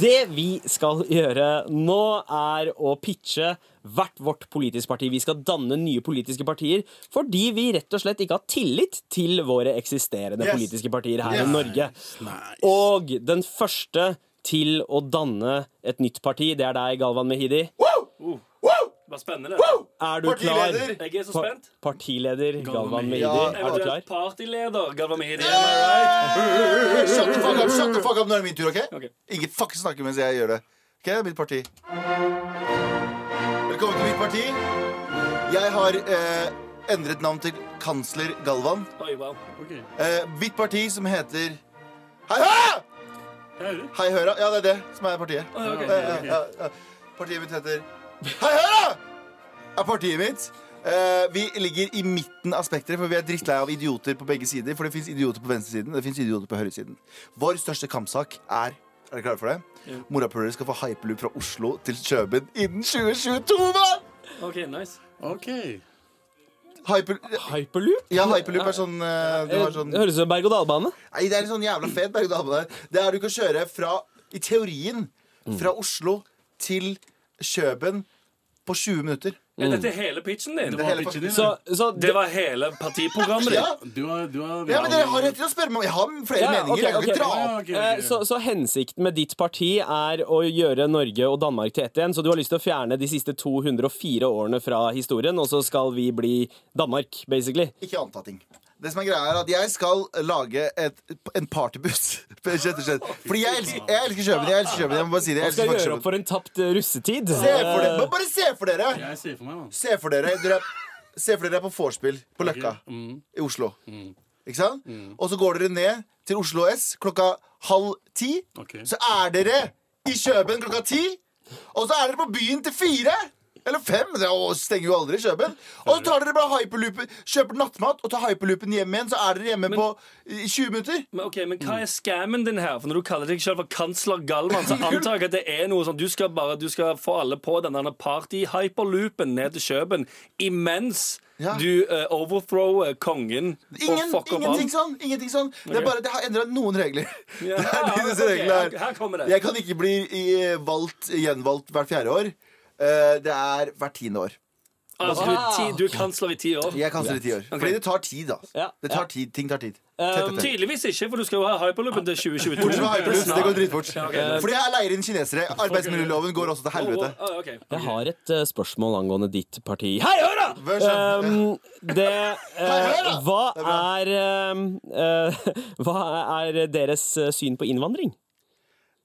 [SPEAKER 4] Det vi skal gjøre nå, er å pitche hvert vårt politisk parti. Vi skal danne nye politiske partier fordi vi rett og slett ikke har tillit til våre eksisterende
[SPEAKER 2] Yes.
[SPEAKER 4] politiske partier her
[SPEAKER 2] Yes.
[SPEAKER 4] i Norge.
[SPEAKER 3] Nice.
[SPEAKER 4] Og den første til å danne et nytt parti, det er deg, Galvan Mehidi.
[SPEAKER 5] Uh.
[SPEAKER 2] Wow! Wow!
[SPEAKER 5] Det var spennende.
[SPEAKER 4] Er du klar?
[SPEAKER 2] Partileder!
[SPEAKER 5] Jeg er så
[SPEAKER 4] Pa-
[SPEAKER 5] spent.
[SPEAKER 4] Partileder Galvan
[SPEAKER 3] Galvan
[SPEAKER 4] Mehidi,
[SPEAKER 3] Mehidi.
[SPEAKER 2] Ja,
[SPEAKER 4] er du
[SPEAKER 5] Eventuelt
[SPEAKER 4] klar?
[SPEAKER 5] partyleder Galvan Mehidi. Am I right?
[SPEAKER 2] Shut the fuck up, shut the fuck up. Nå er det min tur, OK?
[SPEAKER 5] Ok.
[SPEAKER 2] Ikke fuck snakke mens jeg gjør det. OK, det er mitt parti. Velkommen til mitt parti. Jeg har eh, endret navn til kansler Galvan.
[SPEAKER 5] Oi, wow.
[SPEAKER 3] Ok, jeg
[SPEAKER 2] Eh, mitt parti som heter Hei Høra!
[SPEAKER 3] hører.
[SPEAKER 2] Hei Høra. Ja, det er det som er partiet.
[SPEAKER 5] Oi, ok.
[SPEAKER 2] Ja, ja, ja, ja. Partiet mitt heter Hei Høra! Er partiet mitt. Eh, Eh, vi ligger i midten av spekteret, for vi er drittlei av idioter på begge sider. For det fins idioter på venstresiden, det fins idioter på høyresiden. Vår største kampsak er Er dere klare for det? Morapulere skal få hyperloop fra Oslo til Kjøben innen 2022, mann!
[SPEAKER 5] OK, nice.
[SPEAKER 3] OK.
[SPEAKER 2] Hyper...
[SPEAKER 4] Hyperloop?
[SPEAKER 2] Ja, hyperloop er sånn, eh, du har sånn
[SPEAKER 4] Det høres ut som berg-og-dal-bane.
[SPEAKER 2] Nei, det er en sånn jævla fet berg-og-dal-bane. Det er du kan kjøre fra, i teorien, fra Oslo til Kjøben på 20 minutter.
[SPEAKER 4] Mm.
[SPEAKER 5] Er dette hele pitchen din?
[SPEAKER 2] Det er hele
[SPEAKER 3] pitchen din,
[SPEAKER 2] faktisk-
[SPEAKER 4] Så, så
[SPEAKER 5] Det var hele partiprogrammet ditt?
[SPEAKER 2] Ja,
[SPEAKER 3] Du har, du har
[SPEAKER 2] ja, men dere har rett til å spørre meg. om- Jeg har flere
[SPEAKER 4] Ja, ja,
[SPEAKER 2] meninger.
[SPEAKER 4] ok,
[SPEAKER 2] jeg kan ikke
[SPEAKER 4] ok.
[SPEAKER 2] dra
[SPEAKER 3] Ja,
[SPEAKER 2] opp
[SPEAKER 3] ok, ok.
[SPEAKER 4] Eh, Så, så hensikten med ditt parti er å gjøre Norge og Danmark til ett igjen. Så du har lyst til å fjerne de siste 204 årene fra historien, og så skal vi bli Danmark, basically.
[SPEAKER 2] Ikke anta ting. Det som er greia er at Jeg skal lage et, en partybuss. Rett og slett. Fordi jeg elsker, jeg elsker Kjøben. Jeg elsker Kjøben, jeg må bare si det. Jeg
[SPEAKER 4] Man
[SPEAKER 2] elsker
[SPEAKER 4] skal
[SPEAKER 2] faktisk
[SPEAKER 4] gjøre opp
[SPEAKER 2] Kjøben.
[SPEAKER 4] for en tapt eh, russetid.
[SPEAKER 2] Se for dere,
[SPEAKER 4] Eh,
[SPEAKER 2] bare- bare se for dere!
[SPEAKER 3] Jeg ser for meg, mann.
[SPEAKER 2] Se for dere dere er- Se for dere er på vorspiel på Løkka i Oslo. Ikke sant? Og så går dere ned til Oslo S klokka halv ti.
[SPEAKER 3] Ok.
[SPEAKER 2] Så er dere i Kjøben klokka ti. Og så er dere på byen til fire! Eller fem. Det er- å, stenger jo aldri Kjøben. Og så tar dere bare hyperloopen, kjøper nattmat og tar hyperloopen hjem igjen. Så er dere hjemme på i 20 minutter.
[SPEAKER 5] Men, ok, men hva
[SPEAKER 4] Mm.
[SPEAKER 5] er scammen din her? For Når du kaller deg selv for kansler Galvan, så antar jeg at det er noe sånn du skal bare du skal få alle på den der party-hyperloopen ned til Kjøben imens
[SPEAKER 2] Ja.
[SPEAKER 5] du eh, overthrower kongen
[SPEAKER 2] Ingen,
[SPEAKER 5] og fucker opp
[SPEAKER 2] ingenting
[SPEAKER 5] han.
[SPEAKER 2] sånn. Ingenting sånn. Det er bare at jeg har endra noen regler.
[SPEAKER 5] Ja,
[SPEAKER 2] Det er de disse
[SPEAKER 5] ok,
[SPEAKER 2] reglene
[SPEAKER 5] her- her kommer det.
[SPEAKER 2] Jeg kan ikke bli i- valgt, gjenvalgt hvert fjerde år. Eh, Det er hvert tiende år. sånn.
[SPEAKER 5] Altså, du, er ti, du er kansler i ti år.
[SPEAKER 2] Jeg kaster det ti år. Fordi det tar tid, da.
[SPEAKER 4] Ja,
[SPEAKER 2] Det tar
[SPEAKER 4] ja.
[SPEAKER 2] tid, ting tar tid.
[SPEAKER 5] Eh,
[SPEAKER 2] Tett og tett.
[SPEAKER 5] Tydeligvis ikke, for du skal jo ha hyperloopen til 2022.
[SPEAKER 2] Bortsett fra hyperloops, det går dritfort.
[SPEAKER 5] Ja, ok, nice.
[SPEAKER 2] Fordi jeg leier inn kinesere. Arbeidsmiljøloven går også til helvete.
[SPEAKER 5] Å, å, ok.
[SPEAKER 4] Jeg har et eh, spørsmål angående ditt parti. Hei, hør, da!
[SPEAKER 2] Vær så
[SPEAKER 5] Eh,
[SPEAKER 2] snill.
[SPEAKER 4] Ehm, det eh,
[SPEAKER 2] da!
[SPEAKER 4] Hva er ehm, eh, Hva er deres eh, syn på innvandring?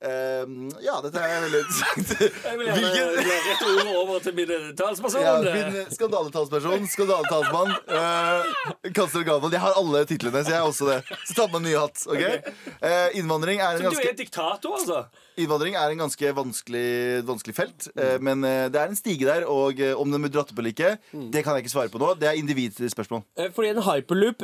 [SPEAKER 2] Ehm, Ja, dette er veldig interessant.
[SPEAKER 5] Jeg vil gjerne la rett ord over til min eh,
[SPEAKER 2] Ja,
[SPEAKER 5] talsperson.
[SPEAKER 2] min skandaletalsperson, skandaletalsmann, uh, kansler Galvan. Jeg har alle titlene, så jeg er også det. Så ta på meg en ny hatt. ok? Eh, innvandring, er en
[SPEAKER 5] Du er
[SPEAKER 2] ganske,
[SPEAKER 5] diktator, altså.
[SPEAKER 2] innvandring er en ganske vanskelig, vanskelig felt. eh, men eh, det er en stige der, og eh, om den blir dratt opp eller ikke, det kan jeg ikke svare på nå. Det er individspørsmål.
[SPEAKER 4] Eh, Fordi en hyperloop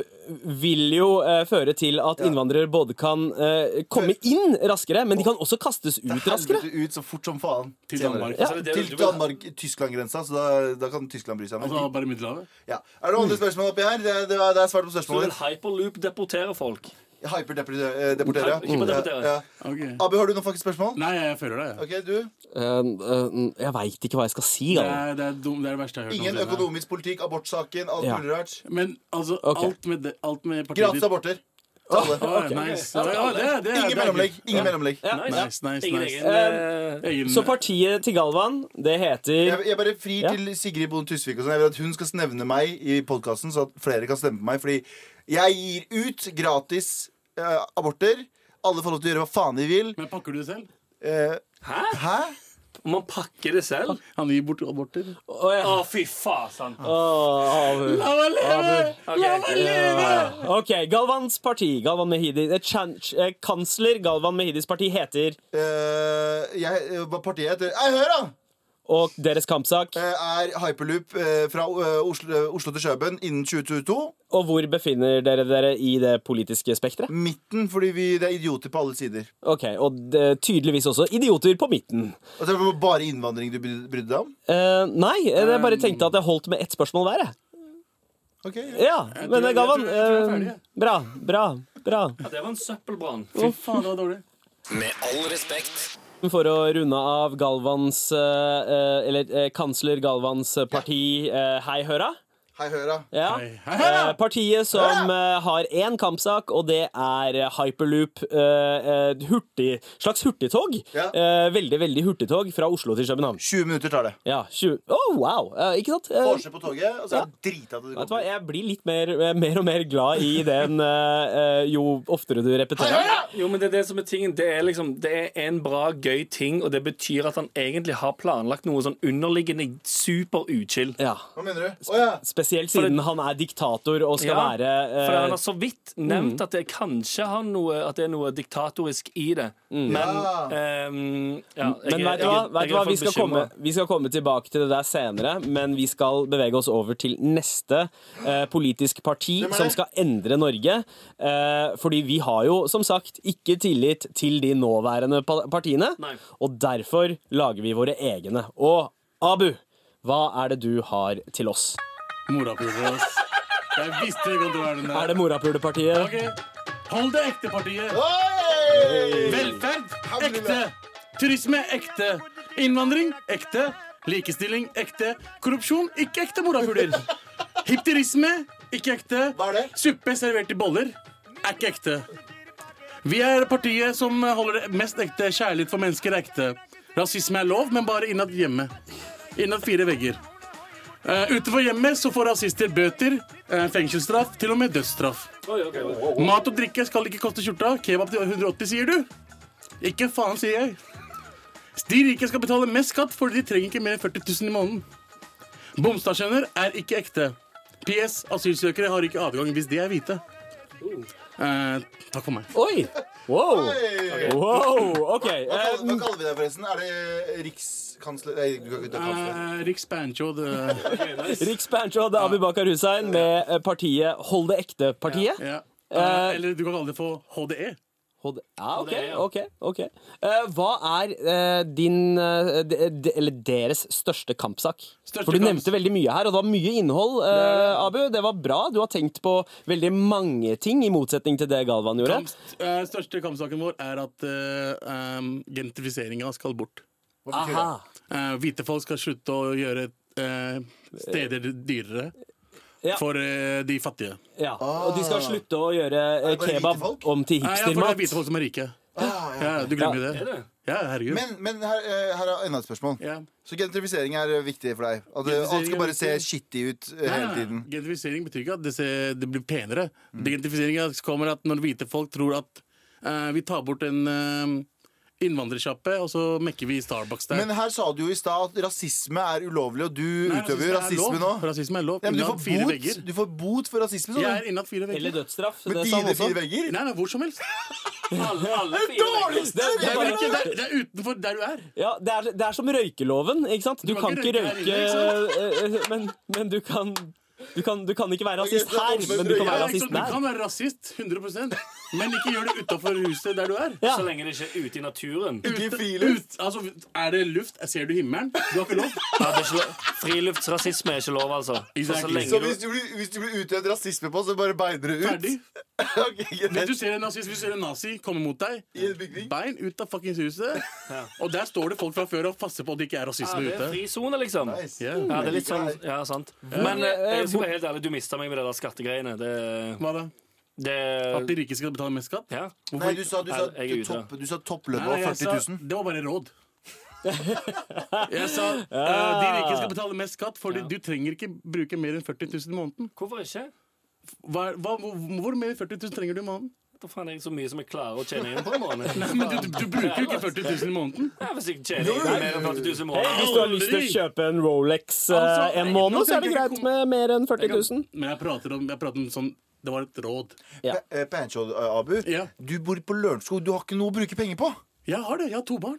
[SPEAKER 4] vil jo eh, føre til at innvandrere både kan eh, komme inn raskere, men de kan også kastes ut raskere.
[SPEAKER 2] Helvete ut så fort som faen.
[SPEAKER 3] Til Danmark.
[SPEAKER 4] Ja.
[SPEAKER 5] Så Altså, det er det du
[SPEAKER 2] Til
[SPEAKER 5] vil ha.
[SPEAKER 2] Danmark-Tyskland-grensa, så da, da kan Tyskland bry seg.
[SPEAKER 3] Altså
[SPEAKER 2] Men,
[SPEAKER 3] bare Middelhavet?
[SPEAKER 2] ja. Er det noen andre spørsmål oppi her? Det, det, er- det er svart på
[SPEAKER 5] Du vil
[SPEAKER 2] spørsmålet.
[SPEAKER 5] hyperloop deportere folk.
[SPEAKER 2] Hyperdeportere. eh,
[SPEAKER 5] Hyper- ikke bare deportere.
[SPEAKER 3] Ok.
[SPEAKER 2] Abu, har du noen faktisk spørsmål?
[SPEAKER 3] Nei, jeg føler det. jeg.
[SPEAKER 2] Ok, du
[SPEAKER 4] Eh, eh, jeg veit ikke hva jeg skal si.
[SPEAKER 3] Det
[SPEAKER 4] Galvan.
[SPEAKER 3] er det, er dum, det er det verste jeg har hørt.
[SPEAKER 2] Ingen
[SPEAKER 3] noensinne.
[SPEAKER 2] økonomisk politikk, abortsaken, alt
[SPEAKER 4] Ja.
[SPEAKER 2] mulig rart.
[SPEAKER 3] Men altså,
[SPEAKER 4] Ok.
[SPEAKER 3] alt med, det, alt med partiet
[SPEAKER 2] Gratis aborter. Til alle.
[SPEAKER 3] Å, nice. Ja, ja, det, det,
[SPEAKER 2] Ingen mellomlegg. Ingen mellomlegg.
[SPEAKER 5] Nice.
[SPEAKER 3] Nice, nice,
[SPEAKER 5] Ingen
[SPEAKER 3] nice.
[SPEAKER 5] egen eh,
[SPEAKER 3] Egen,
[SPEAKER 4] Så partiet til Galvan, det heter
[SPEAKER 2] Jeg, jeg bare frir
[SPEAKER 4] Ja.
[SPEAKER 2] til Sigrid Bonde Tusvik. Og sånn. Jeg vil at hun skal nevne meg i podkasten, så at flere kan stemme på meg. Fordi jeg gir ut gratis eh, aborter. Alle får lov til å gjøre hva faen de vil.
[SPEAKER 3] men pakker du det selv?
[SPEAKER 2] Eh,
[SPEAKER 5] Hæ?
[SPEAKER 2] hæ?
[SPEAKER 5] Man pakker det selv?
[SPEAKER 3] Han gir bort aborter.
[SPEAKER 4] Å, ja.
[SPEAKER 5] Å, fy faen.
[SPEAKER 4] Å, Abu.
[SPEAKER 3] La meg leve! La meg leve!
[SPEAKER 4] Ok, Galvans parti, Galvan Mehidi eh, chan- eh, Kansler Galvan Mehidis parti heter
[SPEAKER 2] Eh, jeg, eh, hva partiet heter Nei, hør, da!
[SPEAKER 4] Og deres kampsak
[SPEAKER 2] Eh, er hyperloop eh, fra eh, Oslo, Oslo til Kjøben innen 2022.
[SPEAKER 4] Og hvor befinner dere dere i det politiske spektret
[SPEAKER 2] Midten, fordi vi, det er idioter på alle sider.
[SPEAKER 4] Ok, og det, tydeligvis også idioter på midten
[SPEAKER 2] Og så er det bare innvandring du bry- brydde deg om?
[SPEAKER 4] Eh, Nei, eh, jeg
[SPEAKER 2] Um.
[SPEAKER 4] bare tenkte at det holdt med ett spørsmål hver jeg.
[SPEAKER 2] Ok, ja.
[SPEAKER 4] Ja, men eh,
[SPEAKER 3] jeg tror-
[SPEAKER 4] Galvan
[SPEAKER 3] jeg tror jeg er ferdig,
[SPEAKER 4] eh, Bra, bra, bra
[SPEAKER 5] Ja, det var en søppelbrann.
[SPEAKER 3] Fy faen, det var dårlig.
[SPEAKER 1] Med all respekt.
[SPEAKER 4] For å runde av Galvans eh, eh, Eller eh, kansler Galvans parti eh, Hei høra
[SPEAKER 2] Hei, hør, da.
[SPEAKER 4] Ja
[SPEAKER 3] Hei, hei, hei.
[SPEAKER 4] Eh, Partiet som eh, har én kampsak, og det er eh, hyperloop. eh, eh, hurtig, slags hurtigtog.
[SPEAKER 2] Ja.
[SPEAKER 4] Eh, veldig, veldig hurtigtog fra Oslo til København.
[SPEAKER 2] 20 minutter tar det.
[SPEAKER 4] Ja, 20 Oh, wow! Eh, ikke sant?
[SPEAKER 3] Øh.
[SPEAKER 4] Eh,
[SPEAKER 2] Porsche på toget, og så er det drita til du
[SPEAKER 4] Vet du hva,
[SPEAKER 2] kommer.
[SPEAKER 4] Jeg blir litt mer, eh, mer og mer glad i den eh, eh, jo oftere du repeterer.
[SPEAKER 5] Jo, men Det er det som er tingen. Det er liksom, det er en bra, gøy ting, og det betyr at han egentlig har planlagt noe sånn underliggende super uchill.
[SPEAKER 4] Ja,
[SPEAKER 2] Hva mener du? Å ja.
[SPEAKER 4] Spesielt siden han er diktator og skal
[SPEAKER 5] Ja,
[SPEAKER 4] være eh,
[SPEAKER 5] For han har så vidt nevnt at det kanskje har noe, at det er noe diktatorisk i det. Men
[SPEAKER 2] Ja.
[SPEAKER 5] ehm, ja, jeg
[SPEAKER 4] Men
[SPEAKER 5] er-
[SPEAKER 4] vet du
[SPEAKER 5] jeg
[SPEAKER 4] hva?
[SPEAKER 5] er-
[SPEAKER 4] Vet
[SPEAKER 5] jeg
[SPEAKER 4] du hva?
[SPEAKER 5] er iallfall
[SPEAKER 4] Vi, skal komme,
[SPEAKER 5] bekymret.
[SPEAKER 4] vi skal komme tilbake til det der senere, men vi skal bevege oss over til neste eh, politisk parti
[SPEAKER 2] Hvem er det?
[SPEAKER 4] som skal endre Norge. Eh, fordi vi har jo som sagt ikke tillit til de nåværende pa partiene,
[SPEAKER 5] Nei.
[SPEAKER 4] og derfor lager vi våre egne. Og Abu, hva er det du har til oss?
[SPEAKER 3] Morapuler, ass. Jeg visste det kom til å være den
[SPEAKER 4] Er
[SPEAKER 3] der.
[SPEAKER 4] det Morapulepartiet?
[SPEAKER 3] Ok, Hold det ekte partiet.
[SPEAKER 2] Hey!
[SPEAKER 3] Velferd ekte. Turisme ekte. Innvandring ekte. Likestilling ekte. Korrupsjon ikke ekte morapuler. Hipterisme ikke ekte.
[SPEAKER 2] Hva er det?
[SPEAKER 3] Suppe servert i boller er ikke ekte. Vi er partiet som holder det mest ekte. Kjærlighet for mennesker er ekte. Rasisme er lov, men bare innad hjemmet. Innad fire vegger. Eh, utenfor hjemmet så får rasister bøter, eh, fengselsstraff, til og med dødsstraff. Mat og drikke skal ikke koste skjorta. Kebab til 180, sier du? Ikke faen, sier jeg. De rike skal betale mest skatt, for de trenger ikke mer enn 40 000 i måneden. Bomstasjoner er ikke ekte. PS. Asylsøkere har ikke adgang hvis de er hvite. Eh, takk for meg.
[SPEAKER 4] Oi! Wow! wow. OK.
[SPEAKER 2] Hva
[SPEAKER 4] Eh,
[SPEAKER 2] kaller, hva kaller vi det, forresten? Er det rikskansler Nei, du kan ikke ta kansler.
[SPEAKER 3] Eh, Riks Bancho, det
[SPEAKER 4] Riks Bancho, det er Abu Bakar Hussein med eh, partiet Hold det ekte-partiet.
[SPEAKER 3] ja. eh, Eller du kan kalle det for E. HDE.
[SPEAKER 4] HD Ja, OK.
[SPEAKER 5] det, ja.
[SPEAKER 4] ok, ok Eh, Hva er eh, din eh, de, de, Eller deres største kampsak?
[SPEAKER 3] Største
[SPEAKER 4] For du
[SPEAKER 3] kamps-
[SPEAKER 4] nevnte veldig mye her, og det var mye innhold, eh, Abu. Det var bra. Du har tenkt på veldig mange ting, i motsetning til det Galvan gjorde.
[SPEAKER 3] Kamp, eh, største kampsaken vår er at eh, um, gentrifiseringa skal bort.
[SPEAKER 4] Aha.
[SPEAKER 3] Eh, hvite folk skal slutte å gjøre eh, steder dyrere
[SPEAKER 4] Ja.
[SPEAKER 3] for eh, de fattige.
[SPEAKER 4] Ja. Og de skal slutte å gjøre eh,
[SPEAKER 2] bare hvite
[SPEAKER 4] kebab
[SPEAKER 2] folk?
[SPEAKER 4] om til
[SPEAKER 3] Nei, Eh, ja, for det er
[SPEAKER 4] hipstermat.
[SPEAKER 3] hvite folk som er rike.
[SPEAKER 2] Ah, ja.
[SPEAKER 3] Ja, du glemmer jo det. Ja, herregud.
[SPEAKER 2] Men, men her, eh, her er enda et spørsmål.
[SPEAKER 3] ja.
[SPEAKER 2] Så gentrifisering er eh, viktig for deg? At eh, alt
[SPEAKER 3] Gentrifisering
[SPEAKER 2] skal
[SPEAKER 3] er
[SPEAKER 2] bare se
[SPEAKER 3] viktig.
[SPEAKER 2] skittig ut eh, hele tiden?
[SPEAKER 3] Gentrifisering betyr ikke at det, ser, det blir penere. Mm. Gentrifiseringa kommer at når hvite folk tror at eh, vi tar bort en uh, innvandrersjappe, og så mekker vi Starbucks der.
[SPEAKER 2] Men her sa du jo i stad at rasisme er ulovlig, og du
[SPEAKER 3] Nei, altså,
[SPEAKER 2] utøver jo rasisme
[SPEAKER 3] er
[SPEAKER 2] nå.
[SPEAKER 3] lov. Rasisme er lov.
[SPEAKER 2] Ja, men du
[SPEAKER 3] Innad
[SPEAKER 2] får,
[SPEAKER 3] fire
[SPEAKER 2] bot,
[SPEAKER 3] vegger.
[SPEAKER 2] du får bot for rasisme,
[SPEAKER 3] Jeg
[SPEAKER 2] sa du.
[SPEAKER 3] er innad fire vegger.
[SPEAKER 4] Eller dødsstraff.
[SPEAKER 2] Med
[SPEAKER 4] Det sa han
[SPEAKER 2] dine fire
[SPEAKER 4] også.
[SPEAKER 2] vegger?
[SPEAKER 3] Nei, nei, hvor som helst.
[SPEAKER 5] Alle, alle fire
[SPEAKER 2] Dårligste
[SPEAKER 4] Det- det-
[SPEAKER 3] Det er,
[SPEAKER 2] regler!
[SPEAKER 3] ikke, det, er, det er utenfor der du er.
[SPEAKER 4] Ja, det er, det er som røykeloven, ikke sant? Du,
[SPEAKER 3] Du
[SPEAKER 4] kan
[SPEAKER 3] kan
[SPEAKER 4] ikke
[SPEAKER 3] ikke røyke
[SPEAKER 4] røyke,
[SPEAKER 3] her
[SPEAKER 4] eh, eh, men, men du kan du kan, du kan ikke være rasist
[SPEAKER 2] Ok, så
[SPEAKER 4] her,
[SPEAKER 2] åpner
[SPEAKER 4] men du kan
[SPEAKER 2] brøya.
[SPEAKER 4] være
[SPEAKER 3] Ja, ikke
[SPEAKER 4] rasist
[SPEAKER 3] sant? Du
[SPEAKER 4] der.
[SPEAKER 3] kan være rasist, 100 men ikke gjør det utafor huset der du er.
[SPEAKER 4] Ja.
[SPEAKER 5] Så lenge det ikke er ute i naturen.
[SPEAKER 2] Ikke i
[SPEAKER 3] Ut-
[SPEAKER 2] friluft.
[SPEAKER 3] ut- altså, er det luft? Ser du himmelen? Du har ikke lov.
[SPEAKER 5] Ja, det er ikke lov. Friluftsrasisme er ikke lov, altså. Og så
[SPEAKER 3] Exactly.
[SPEAKER 5] lenge
[SPEAKER 2] Så
[SPEAKER 5] du
[SPEAKER 2] hvis du blir, hvis du blir utøvd rasisme på, så bare beiner du ut?
[SPEAKER 3] Ferdig.
[SPEAKER 2] Ok, greit.
[SPEAKER 3] Hvis du ser en nazist, hvis du ser en nazi komme mot deg,
[SPEAKER 2] I en bygning.
[SPEAKER 3] bein ut av fuckings huset. Og der står det folk fra før og passer på at det ikke er
[SPEAKER 5] ja,
[SPEAKER 3] rasisme
[SPEAKER 5] det er
[SPEAKER 3] ute.
[SPEAKER 5] frisone, liksom.
[SPEAKER 2] Nice.
[SPEAKER 3] Ja.
[SPEAKER 5] Ja, det er litt sånn, ja, sant. Men eh, jeg skal være helt ærlig, du mista meg med det der skattegreiene. Det,
[SPEAKER 3] Hva da? At de
[SPEAKER 5] det
[SPEAKER 3] rike skal betale mest skatt?
[SPEAKER 5] ja.
[SPEAKER 2] Nei, du sa, du sa,
[SPEAKER 5] Jeg er
[SPEAKER 2] du
[SPEAKER 5] ute.
[SPEAKER 2] topp, du sa topplønna
[SPEAKER 3] Nei,
[SPEAKER 2] var
[SPEAKER 3] jeg
[SPEAKER 2] 40 000.
[SPEAKER 3] Sa, det var bare råd. Jeg sa eh, de rike skal betale mest skatt, for du trenger ikke bruke mer enn 40 000 i måneden.
[SPEAKER 5] Hvorfor ikke?
[SPEAKER 3] Hva, er- hva, hvor, hvor mer enn 40 000 trenger du i måneden?
[SPEAKER 5] Da faen er jeg så mye som jeg klarer å tjene inn på en måned.
[SPEAKER 3] Men du, du, du bruker jo ikke 40 000 i måneden.
[SPEAKER 5] Ja, Hvis jeg tjener inn mer enn 40 000 i
[SPEAKER 4] Hei,
[SPEAKER 5] måneden.
[SPEAKER 4] hvis du har lyst til å kjøpe en Rolex eh,
[SPEAKER 3] Altså,
[SPEAKER 4] en
[SPEAKER 3] nei,
[SPEAKER 4] måned, så
[SPEAKER 3] nå
[SPEAKER 4] er det
[SPEAKER 3] tenker jeg
[SPEAKER 4] greit
[SPEAKER 3] ikke-
[SPEAKER 4] med mer enn 40 000.
[SPEAKER 3] Men jeg prater om, jeg prater om sånn Det var et råd.
[SPEAKER 4] Ja.
[SPEAKER 2] Pa- eh, Pancho, eh, Abu,
[SPEAKER 3] Ja.
[SPEAKER 2] du bor på Lørenskog. Du har ikke noe å bruke penger på.
[SPEAKER 3] Jeg har det. Jeg har to barn.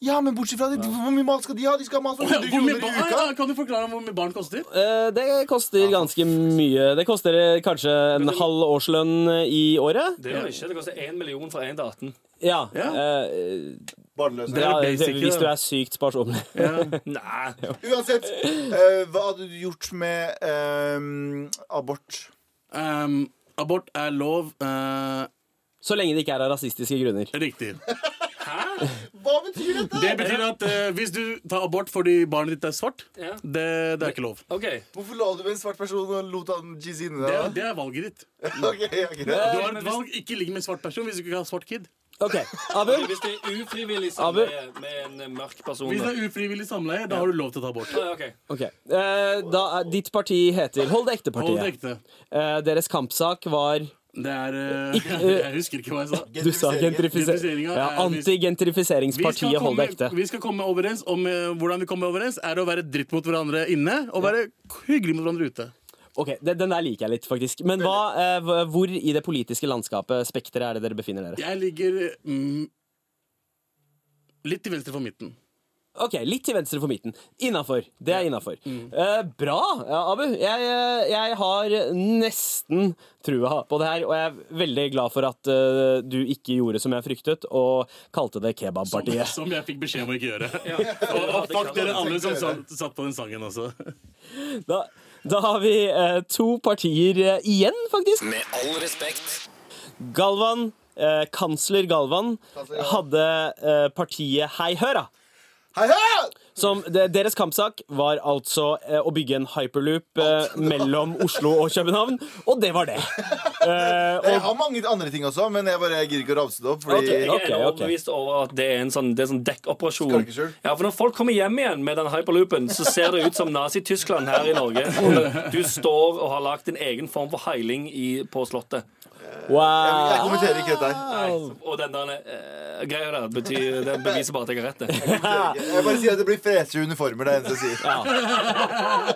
[SPEAKER 2] Ja, men bortsett fra det, hvor mye mat skal de ha? De skal ha mat for 100
[SPEAKER 3] Hvor mye
[SPEAKER 2] kroner i
[SPEAKER 3] barn,
[SPEAKER 2] uka.
[SPEAKER 3] Ja, kan du forklare hvor mye barn koster?
[SPEAKER 4] Eh, Det koster ganske mye. Det koster eh, kanskje en halv årslønn eh, i året.
[SPEAKER 5] Det gjør det ikke. Det koster 1 million fra 1 til 18.
[SPEAKER 4] Ja.
[SPEAKER 3] Ja.
[SPEAKER 4] eh,
[SPEAKER 2] Barnløse.
[SPEAKER 4] Det er,
[SPEAKER 3] basic,
[SPEAKER 4] hvis du
[SPEAKER 3] ja.
[SPEAKER 4] er sykt sparsommelig.
[SPEAKER 5] Nei.
[SPEAKER 2] Uansett, eh, hva hadde du gjort med eh, abort?
[SPEAKER 3] Um, abort er lov. eh,
[SPEAKER 4] Så lenge det ikke er av rasistiske grunner.
[SPEAKER 3] riktig.
[SPEAKER 2] Hva betyr dette?
[SPEAKER 3] Det betyr at eh, hvis du tar abort fordi barnet ditt er svart,
[SPEAKER 5] Ja.
[SPEAKER 3] det, det er ikke lov.
[SPEAKER 5] OK.
[SPEAKER 2] Hvorfor la du en svart person og lot han jizze inni
[SPEAKER 3] Det,
[SPEAKER 2] deg?
[SPEAKER 3] er- det er valget ditt.
[SPEAKER 2] da? Ok, ok.
[SPEAKER 3] Du har et valg. Ikke ligg med en svart person hvis du ikke har svart kid.
[SPEAKER 4] Ok, Abu?
[SPEAKER 5] Hvis det er ufrivillig samleie med en eh, mørk person
[SPEAKER 3] Hvis det
[SPEAKER 5] da.
[SPEAKER 3] er ufrivillig samleie, da har du lov til å ta abort.
[SPEAKER 5] Ja, ok.
[SPEAKER 4] Ok. Eh, Da er, ditt parti heter Hold det
[SPEAKER 3] Hold det
[SPEAKER 4] ekte-partiet.
[SPEAKER 3] ekte.
[SPEAKER 4] Eh, deres kampsak var
[SPEAKER 3] Det er eh, Jeg husker ikke hva jeg sa.
[SPEAKER 4] Du sa gentrifisering.
[SPEAKER 3] Gentrifiseringa
[SPEAKER 4] Ja,
[SPEAKER 3] er hvis- Vi skal,
[SPEAKER 4] Antigentrifiseringspartiet Hold det ekte.
[SPEAKER 3] komme, vi skal komme overens om eh, hvordan vi kommer overens, er å være dritt mot hverandre inne og være hyggelig mot hverandre ute.
[SPEAKER 4] Ok, den, den der liker jeg litt, faktisk. Men hva, eh, hva- hvor i det politiske landskapet spekteret er det dere befinner dere?
[SPEAKER 3] Jeg ligger mm, litt til venstre for midten.
[SPEAKER 4] Ok, Litt til venstre for midten. Innafor. Det er innafor.
[SPEAKER 3] Mm.
[SPEAKER 4] Eh, bra, ja, Abu. Jeg, eh, jeg har nesten trua på det her, og jeg er veldig glad for at eh, du ikke gjorde som jeg fryktet, og kalte det
[SPEAKER 3] Som,
[SPEAKER 4] kebabpartiet.
[SPEAKER 3] som jeg fikk beskjed om å ikke gjøre. Og, og fuck dere alle som satt, satt på den sangen også.
[SPEAKER 4] Da, da har vi eh, to partier eh, igjen, faktisk.
[SPEAKER 1] Med all respekt.
[SPEAKER 4] Galvan, eh, kansler Galvan,
[SPEAKER 2] Kansler Galvan.
[SPEAKER 4] hadde eh, partiet Hei Høra.
[SPEAKER 2] Hei, hei!
[SPEAKER 4] Som de, deres kampsak var altså eh, å bygge en hyperloop eh, mellom Oslo og København, og det var det. Eh,
[SPEAKER 2] Jeg har mange andre ting også, men jeg bare gidder ikke å ramse det opp. Fordi
[SPEAKER 4] Ok,
[SPEAKER 5] Jeg
[SPEAKER 4] ok.
[SPEAKER 5] er overbevist over at det er en sånn, det er sånn dekkoperasjon.
[SPEAKER 2] Skal ikke skjul.
[SPEAKER 5] Ja, for Når folk kommer hjem igjen med den hyperloopen, så ser det ut som Nazi-Tyskland her i Norge. Du står og har lagd din egen form for heiling i, på Slottet.
[SPEAKER 2] jeg
[SPEAKER 4] wow.
[SPEAKER 2] kommenterer ikke dette her.
[SPEAKER 5] Og den der eh, greia der betyr, det beviser bare at jeg har rett. det.
[SPEAKER 4] Ah.
[SPEAKER 2] Jeg bare sier at det blir fresere uniformer. Det er eneste jeg sier.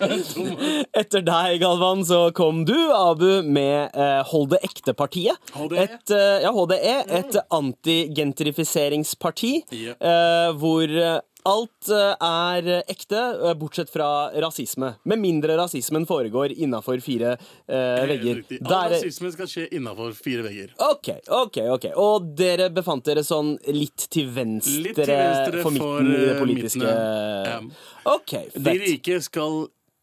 [SPEAKER 4] Etter deg, Galvan, så kom du, Abu, med eh, Hold det ekte-partiet.
[SPEAKER 3] HDE?
[SPEAKER 4] Et, eh, ja, HDE. Et antigentrifiseringsparti
[SPEAKER 3] Ja.
[SPEAKER 4] eh, hvor eh, alt eh, er ekte, eh, bortsett fra rasisme. Med mindre rasismen foregår innafor fire eh, vegger.
[SPEAKER 3] Riktig. All
[SPEAKER 4] Der-
[SPEAKER 3] rasisme skal skje innafor fire vegger.
[SPEAKER 4] Ok, ok, ok. Og dere befant dere sånn litt til venstre,
[SPEAKER 3] Litt til venstre
[SPEAKER 4] for midten
[SPEAKER 3] for,
[SPEAKER 4] i det
[SPEAKER 3] eh,
[SPEAKER 4] politiske
[SPEAKER 3] midtene. Ja.
[SPEAKER 4] Ok,
[SPEAKER 3] De
[SPEAKER 4] fett.
[SPEAKER 3] rike skal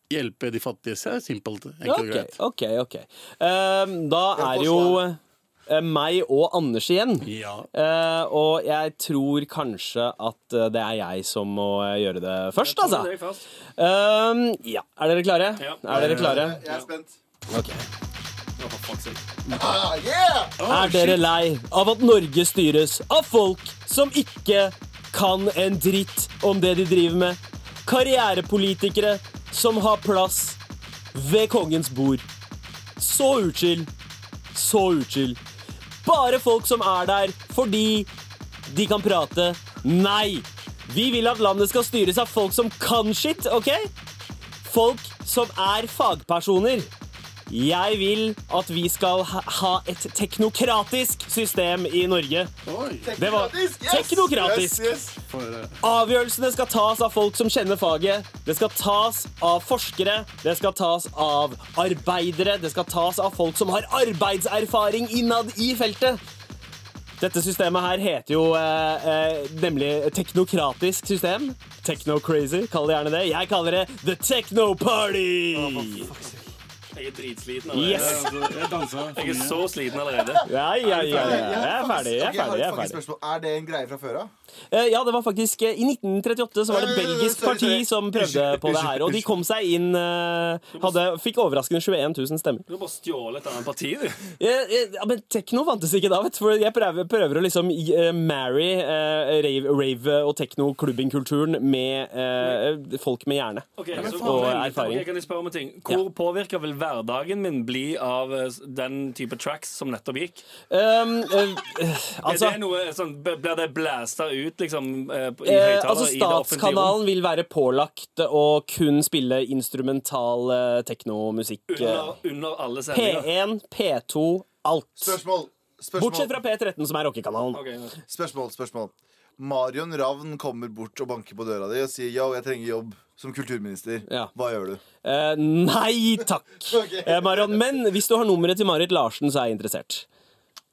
[SPEAKER 3] hjelpe de fattige. Så er det simpelt. Enkelt og
[SPEAKER 4] Ok,
[SPEAKER 3] greit.
[SPEAKER 4] ok, ok. Ehm, da er det jo eh, meg og Anders igjen.
[SPEAKER 3] Ja.
[SPEAKER 4] Eh, og jeg tror kanskje at eh, det er jeg som må eh, gjøre det først, altså.
[SPEAKER 5] Det er jeg først.
[SPEAKER 4] Ehm, ja, er dere klare?
[SPEAKER 5] Ja.
[SPEAKER 4] Er dere klare?
[SPEAKER 2] Jeg er spent.
[SPEAKER 5] Ja, for fuck's sake.
[SPEAKER 2] Ah, yeah!
[SPEAKER 4] Er dere lei av at Norge styres av folk som ikke kan en dritt om det de driver med? Karrierepolitikere som har plass ved kongens bord. Så utskill, så utskill. Bare folk som er der fordi de kan prate. Nei! Vi vil at landet skal styres av folk som kan shit, OK? Folk som er fagpersoner. Jeg vil at vi skal ha ha et teknokratisk system i Norge.
[SPEAKER 3] Oi.
[SPEAKER 4] Det var teknokratisk.
[SPEAKER 2] Yes, yes.
[SPEAKER 3] For, eh,
[SPEAKER 4] Ah. Avgjørelsene skal tas av folk som kjenner faget. Det skal tas av forskere. Det skal tas av arbeidere. Det skal tas av folk som har arbeidserfaring innad i feltet. Dette systemet her heter jo eh, eh, nemlig teknokratisk system. Techno-crazy, kall det gjerne det. Jeg kaller det The Techno Party!
[SPEAKER 5] Jeg er dritsliten
[SPEAKER 4] Yes!
[SPEAKER 5] allerede.
[SPEAKER 3] altså, jeg dansa. for
[SPEAKER 5] Jeg er
[SPEAKER 3] mye.
[SPEAKER 5] så sliten allerede.
[SPEAKER 4] Ja, ja, ja, ja. Jeg er ferdig. Jeg
[SPEAKER 2] Ok,
[SPEAKER 4] er ferdig.
[SPEAKER 2] har
[SPEAKER 4] Jeg
[SPEAKER 2] et
[SPEAKER 4] er
[SPEAKER 2] faktisk
[SPEAKER 4] ferdig.
[SPEAKER 2] spørsmål. Er det en greie fra før av?
[SPEAKER 4] Eh, Ja, det var faktisk eh, I 1938 så var
[SPEAKER 2] Eh,
[SPEAKER 4] det et belgisk
[SPEAKER 2] sorry, sorry.
[SPEAKER 4] parti som prøvde
[SPEAKER 2] Unnskyld,
[SPEAKER 4] på det her. Og de
[SPEAKER 2] unnskyld,
[SPEAKER 4] kom seg inn eh, hadde, Fikk overraskende 21 000 stemmer.
[SPEAKER 5] Du har bare stjålet et annet parti, du.
[SPEAKER 4] Eh, eh, Ja, men tekno fantes ikke da, vet du. For jeg prøver, prøver å liksom eh, marry eh, rave, rave og tekno-klubbingkulturen med eh, folk med hjerne.
[SPEAKER 5] Ok,
[SPEAKER 3] men
[SPEAKER 5] så-
[SPEAKER 3] faen,
[SPEAKER 5] Ok,
[SPEAKER 4] og erfaring.
[SPEAKER 5] ok, kan jeg spørre om en ting? Hvor påvirker vil hverdagen min bli av eh, s- den type tracks som nettopp gikk?
[SPEAKER 4] Um, eh, eh, altså
[SPEAKER 5] er det noe sånn, b- Blir det blæsta ut liksom, eh, på- i
[SPEAKER 4] Eh,
[SPEAKER 5] høyttaler
[SPEAKER 4] altså
[SPEAKER 5] i det offentlige rom?
[SPEAKER 4] Statskanalen vil være pålagt å kun spille instrumental eh, teknomusikk. eh.
[SPEAKER 5] Under, under alle sendinger?
[SPEAKER 4] P1, P2, alt.
[SPEAKER 2] Spørsmål. Spørsmål.
[SPEAKER 4] Bortsett fra P13, som er rockekanalen.
[SPEAKER 5] Ok, ja.
[SPEAKER 2] Spørsmål, spørsmål. Marion Ravn kommer bort og banker på døra di og sier yo, jeg trenger jobb som kulturminister.
[SPEAKER 4] Ja.
[SPEAKER 2] Hva gjør du?
[SPEAKER 4] Eh, nei takk,
[SPEAKER 2] Ok.
[SPEAKER 4] eh, Marion. Men hvis du har nummeret til Marit Larsen, så er jeg interessert.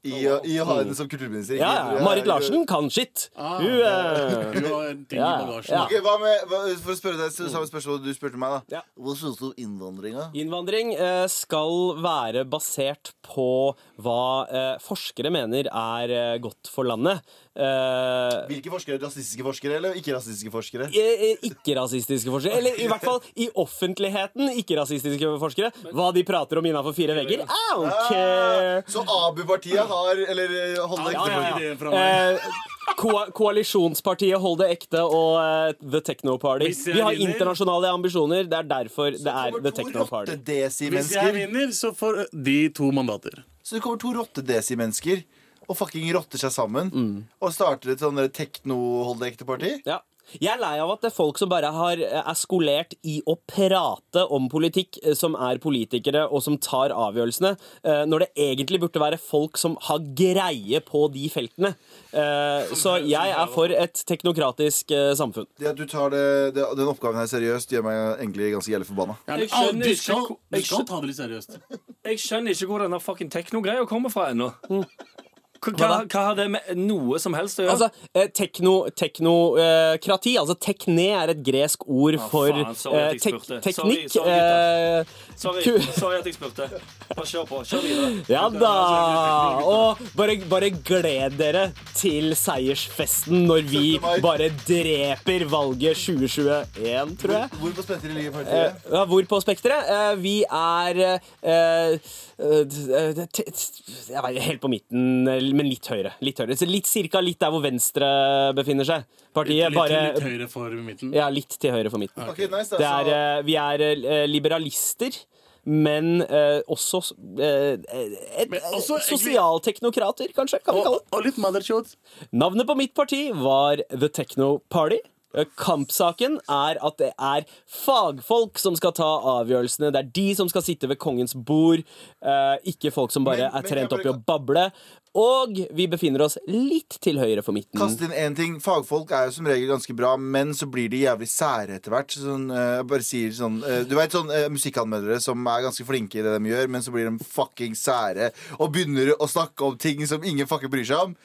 [SPEAKER 2] I, å- i å ha henne som kulturminister?
[SPEAKER 4] Ja, ja, Marit Larsen kan shit. Hun eh,
[SPEAKER 3] Ah, Du har en ting i
[SPEAKER 4] Ja, ja.
[SPEAKER 3] bagasjen.
[SPEAKER 4] Ja.
[SPEAKER 2] Ok, hva med, hva, For å spørre deg så- samme spørsmål du spurte meg, da.
[SPEAKER 4] Mm. Ja.
[SPEAKER 2] Hva syns du om innvandringa?
[SPEAKER 4] Innvandring eh, skal være basert på hva eh, forskere mener er eh, godt for landet. Eh,
[SPEAKER 2] Hvilke forskere? Rasistiske forskere eller ikke-rasistiske forskere?
[SPEAKER 4] eh, eh, ikke-rasistiske forskere. Eller i hvert fall i offentligheten ikke-rasistiske forskere. Hva de prater om innafor fire vegger. I don't care.
[SPEAKER 2] Så Abu-partiet har Eller eh, holder
[SPEAKER 4] Ja, ja, ja.
[SPEAKER 2] ekte
[SPEAKER 3] Ideen fra meg.
[SPEAKER 4] Eh, ko koalisjonspartiet Hold det ekte og eh, The Techno Party.
[SPEAKER 3] Hvis jeg
[SPEAKER 4] Vi har
[SPEAKER 3] vinner-
[SPEAKER 4] internasjonale ambisjoner. Det er derfor det er The Techno
[SPEAKER 2] for
[SPEAKER 4] Party.
[SPEAKER 3] Hvis jeg
[SPEAKER 2] desi-mennesker.
[SPEAKER 3] vinner, så får eh, de to mandater.
[SPEAKER 2] Så det kommer to
[SPEAKER 4] Mm.
[SPEAKER 2] eh, rotte-desi-mennesker og fucking rotter seg sammen og starter et sånn der tekno-hold-ekte-parti.
[SPEAKER 4] Ja. Jeg er lei av at det er folk som bare har, er skolert i å prate om politikk, eh, som er politikere og som tar avgjørelsene, eh, når det egentlig burde være folk som har greie på de feltene. Eh, Så jeg er for et teknokratisk eh, samfunn.
[SPEAKER 2] Det at du tar det, det, den oppgaven her seriøst, gjør meg egentlig ganske jævlig forbanna.
[SPEAKER 3] Ja,
[SPEAKER 5] Jeg
[SPEAKER 3] men, ah,
[SPEAKER 5] skjønner
[SPEAKER 3] du,
[SPEAKER 5] ikke
[SPEAKER 3] skal,
[SPEAKER 5] hvor-
[SPEAKER 3] du
[SPEAKER 5] jeg
[SPEAKER 3] skal
[SPEAKER 5] skjønner-
[SPEAKER 3] ta det litt seriøst.
[SPEAKER 5] Jeg skjønner ikke hvor denne fucking tekno-greia kommer fra ennå.
[SPEAKER 4] Mm.
[SPEAKER 5] Hva, hva, hva har det med noe som helst å gjøre?
[SPEAKER 4] Altså, eh, tekno, teknokrati, altså tekne er et gresk ord for
[SPEAKER 5] Ah, faen, sorry at
[SPEAKER 4] eh,
[SPEAKER 5] jeg
[SPEAKER 4] tek,
[SPEAKER 5] spurte. Sorry,
[SPEAKER 4] teknikk.
[SPEAKER 5] sorry,
[SPEAKER 4] eh,
[SPEAKER 5] sorry,
[SPEAKER 4] ku-
[SPEAKER 5] sorry at jeg spurte. Bare kjør på. Kjør videre.
[SPEAKER 4] Ja
[SPEAKER 5] altså,
[SPEAKER 4] da! Og bare, bare gled dere til seiersfesten når vi
[SPEAKER 2] 17. mai.
[SPEAKER 4] bare dreper valget 2021, tror jeg.
[SPEAKER 2] Hvor på spenter ligger
[SPEAKER 4] Eh,
[SPEAKER 2] partiet?
[SPEAKER 4] ja, hvor på spekteret? Eh, vi er eh, eh, t- t- Jeg vet, Helt på midten, eh, men litt høyre. Litt høyre. Så litt, cirka litt der hvor Venstre befinner seg. Partiet
[SPEAKER 3] Litt,
[SPEAKER 4] bare
[SPEAKER 3] litt høyere for midten.
[SPEAKER 4] Ja, litt til høyre for midten.
[SPEAKER 2] Ok, nice da,
[SPEAKER 4] Det er,
[SPEAKER 2] så,
[SPEAKER 4] eh, vi er eh, liberalister, men eh, også eh, et,
[SPEAKER 3] Men også-
[SPEAKER 4] sosialteknokrater, kanskje? kan vi
[SPEAKER 3] Og,
[SPEAKER 4] kalle det.
[SPEAKER 3] og litt motherchod.
[SPEAKER 4] Navnet på mitt parti var The Techno Party. Eh, Kampsaken er at det er fagfolk som skal ta avgjørelsene. Det er de som skal sitte ved kongens bord, eh, ikke folk som bare
[SPEAKER 2] Men- men
[SPEAKER 4] er trent
[SPEAKER 2] kan
[SPEAKER 4] opp i å
[SPEAKER 2] jeg
[SPEAKER 4] bable. Og vi befinner oss litt til høyre for midten.
[SPEAKER 2] Kast inn én ting. Fagfolk er jo som regel ganske bra, men så blir de jævlig sære etter hvert. Sånn, eh, jeg bare sier sånn eh, Du vet sånn eh, musikkanmeldere som er ganske flinke i det de gjør, men så blir de fucking sære og begynner å snakke om ting som ingen fucking bryr seg om.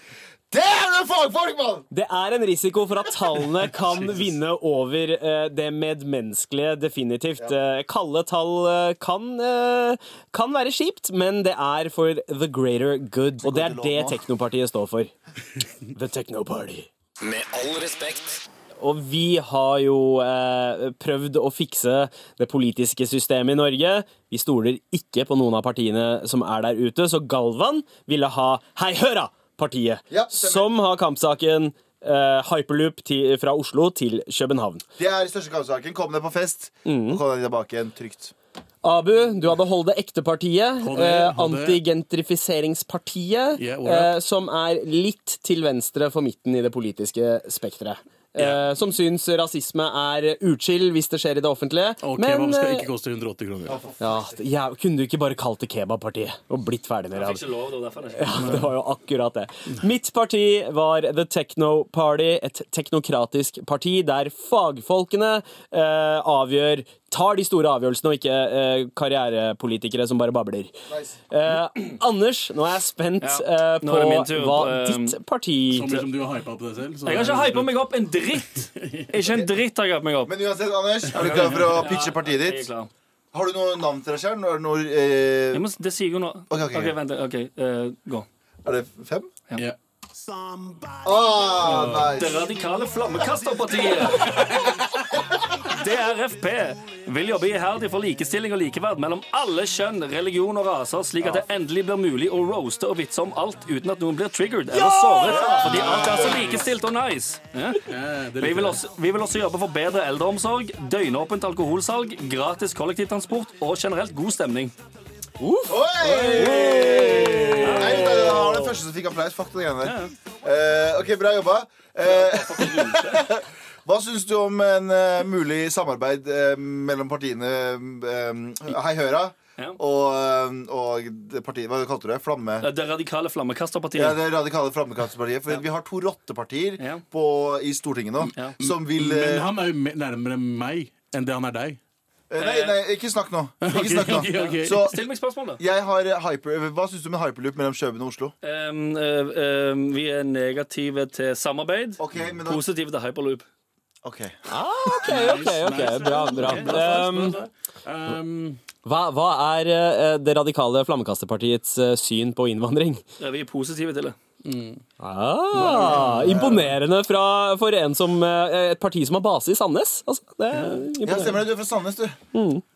[SPEAKER 2] Det er jo fagfolk, mann!
[SPEAKER 4] Det er en risiko for at tallene kan vinne over eh, det medmenneskelige, definitivt. Eh, kalde tall eh, kan, eh, kan være kjipt, men det er for the greater good. Og det er
[SPEAKER 2] til
[SPEAKER 4] det
[SPEAKER 2] lov nå.
[SPEAKER 4] teknopartiet står for. The Techno Party.
[SPEAKER 1] Med all respekt.
[SPEAKER 4] Og vi har jo eh, prøvd å fikse det politiske systemet i Norge. Vi stoler ikke på noen av partiene som er der ute, så Galvan ville ha Hei Høra! partiet,
[SPEAKER 2] Ja, stemmer.
[SPEAKER 4] som har kampsaken eh, hyperloop til, fra Oslo til København.
[SPEAKER 2] Det er største kampsaken. Kom deg på fest, og kom deg tilbake igjen trygt.
[SPEAKER 4] Abu, du hadde Hold det ekte partiet.
[SPEAKER 3] Hold det,
[SPEAKER 4] Eh,
[SPEAKER 3] hold det.
[SPEAKER 4] Antigentrifiseringspartiet,
[SPEAKER 3] Yeah, what up?
[SPEAKER 4] eh, som er litt til venstre for midten i det politiske spekteret.
[SPEAKER 3] Yeah.
[SPEAKER 4] Eh, som syns rasisme er uchill hvis det skjer i det offentlige.
[SPEAKER 3] Og
[SPEAKER 4] men
[SPEAKER 3] kebab skal
[SPEAKER 4] eh,
[SPEAKER 3] ikke koste 180 kroner.
[SPEAKER 4] ja, det- ja, kunne du ikke bare kalt det kebabpartiet og blitt ferdig med det?
[SPEAKER 5] Jeg fikk
[SPEAKER 4] Abu?
[SPEAKER 5] ikke lov, det var derfor jeg
[SPEAKER 4] Ja, det var jo akkurat det. Mitt parti var The Techno Party, et teknokratisk parti der fagfolkene eh, avgjør Tar de store avgjørelsene, og ikke eh, karrierepolitikere som bare babler. Eh, Anders, nå er jeg spent
[SPEAKER 5] Ja,
[SPEAKER 4] eh,
[SPEAKER 5] nå
[SPEAKER 4] på
[SPEAKER 5] er det min tur
[SPEAKER 4] hva
[SPEAKER 5] på, eh,
[SPEAKER 4] ditt parti
[SPEAKER 3] Så mye som du har hypa på deg selv. så-
[SPEAKER 5] Jeg har ikke hypa meg opp en dritt! Ikke en dritt har jeg hypet meg opp.
[SPEAKER 2] Men uansett, Anders, er du klar for å pitche partiet
[SPEAKER 5] Jeg er
[SPEAKER 2] ditt?
[SPEAKER 5] klar.
[SPEAKER 2] Har du noe navn til deg sjøl? Er, det noe, eh,
[SPEAKER 5] Jeg må, det sier jo nå.
[SPEAKER 2] Ok, ok, ok.
[SPEAKER 5] vent. OK, eh, gå.
[SPEAKER 2] er det fem?
[SPEAKER 3] Ja.
[SPEAKER 2] Ah, nice.
[SPEAKER 5] Det radikale flammekasterpartiet. DRFP vil jobbe iherdig for likestilling og likeverd mellom alle kjønn, religion og raser, slik at det endelig blir mulig å roaste og vitse om alt uten at noen blir triggered eller såret, fordi alt er så likestilt og nice. Ja?
[SPEAKER 3] Ja, Eh, det
[SPEAKER 5] Vi
[SPEAKER 3] liker
[SPEAKER 5] vil,
[SPEAKER 3] jeg.
[SPEAKER 5] også, vi vil også jobbe for bedre eldreomsorg, døgnåpent alkoholsalg, gratis kollektivtransport og generelt god stemning.
[SPEAKER 2] Oi! Nei, det var den første som fikk applaus. Fuck den greiene der. Eh, ok, bra jobba. Eh, hva syns du om en eh, mulig samarbeid eh, mellom partiene eh, Hei Høra
[SPEAKER 5] Ja.
[SPEAKER 2] og, eh, og det partiet Hva kalte du det? Flamme?
[SPEAKER 5] Det radikale flammekasterpartiet.
[SPEAKER 2] Ja, det radikale Flammekastepartiet. For vi har to rottepartier
[SPEAKER 5] Ja.
[SPEAKER 2] på, i Stortinget nå
[SPEAKER 5] Ja.
[SPEAKER 2] som vil eh,
[SPEAKER 3] Men han er jo me- nærmere meg enn det han er deg.
[SPEAKER 2] eh, Nei, nei, ikke snakk nå. Ikke
[SPEAKER 3] Ok,
[SPEAKER 2] snakk nå.
[SPEAKER 3] ok, ok.
[SPEAKER 2] Så
[SPEAKER 5] Still meg spørsmål, da.
[SPEAKER 2] jeg har eh, hyper, Hva syns du om en hyperloop mellom Kjøben og Oslo?
[SPEAKER 5] Ehm, eh, ehm, vi er negative til samarbeid.
[SPEAKER 2] Ok, men da-
[SPEAKER 5] Positive til hyperloop.
[SPEAKER 2] Ok
[SPEAKER 4] OK, OK, ok, bra, bra. Um,
[SPEAKER 3] Um,
[SPEAKER 4] hva, hva er eh, det radikale flammekasterpartiets eh, syn på innvandring?
[SPEAKER 5] Ja, vi er positive til det.
[SPEAKER 4] Ah, imponerende fra, for en som, eh, et parti som har base i Sandnes. Altså, det er
[SPEAKER 2] Ja,
[SPEAKER 4] imponerende.
[SPEAKER 2] stemmer det. Du er fra Sandnes, du.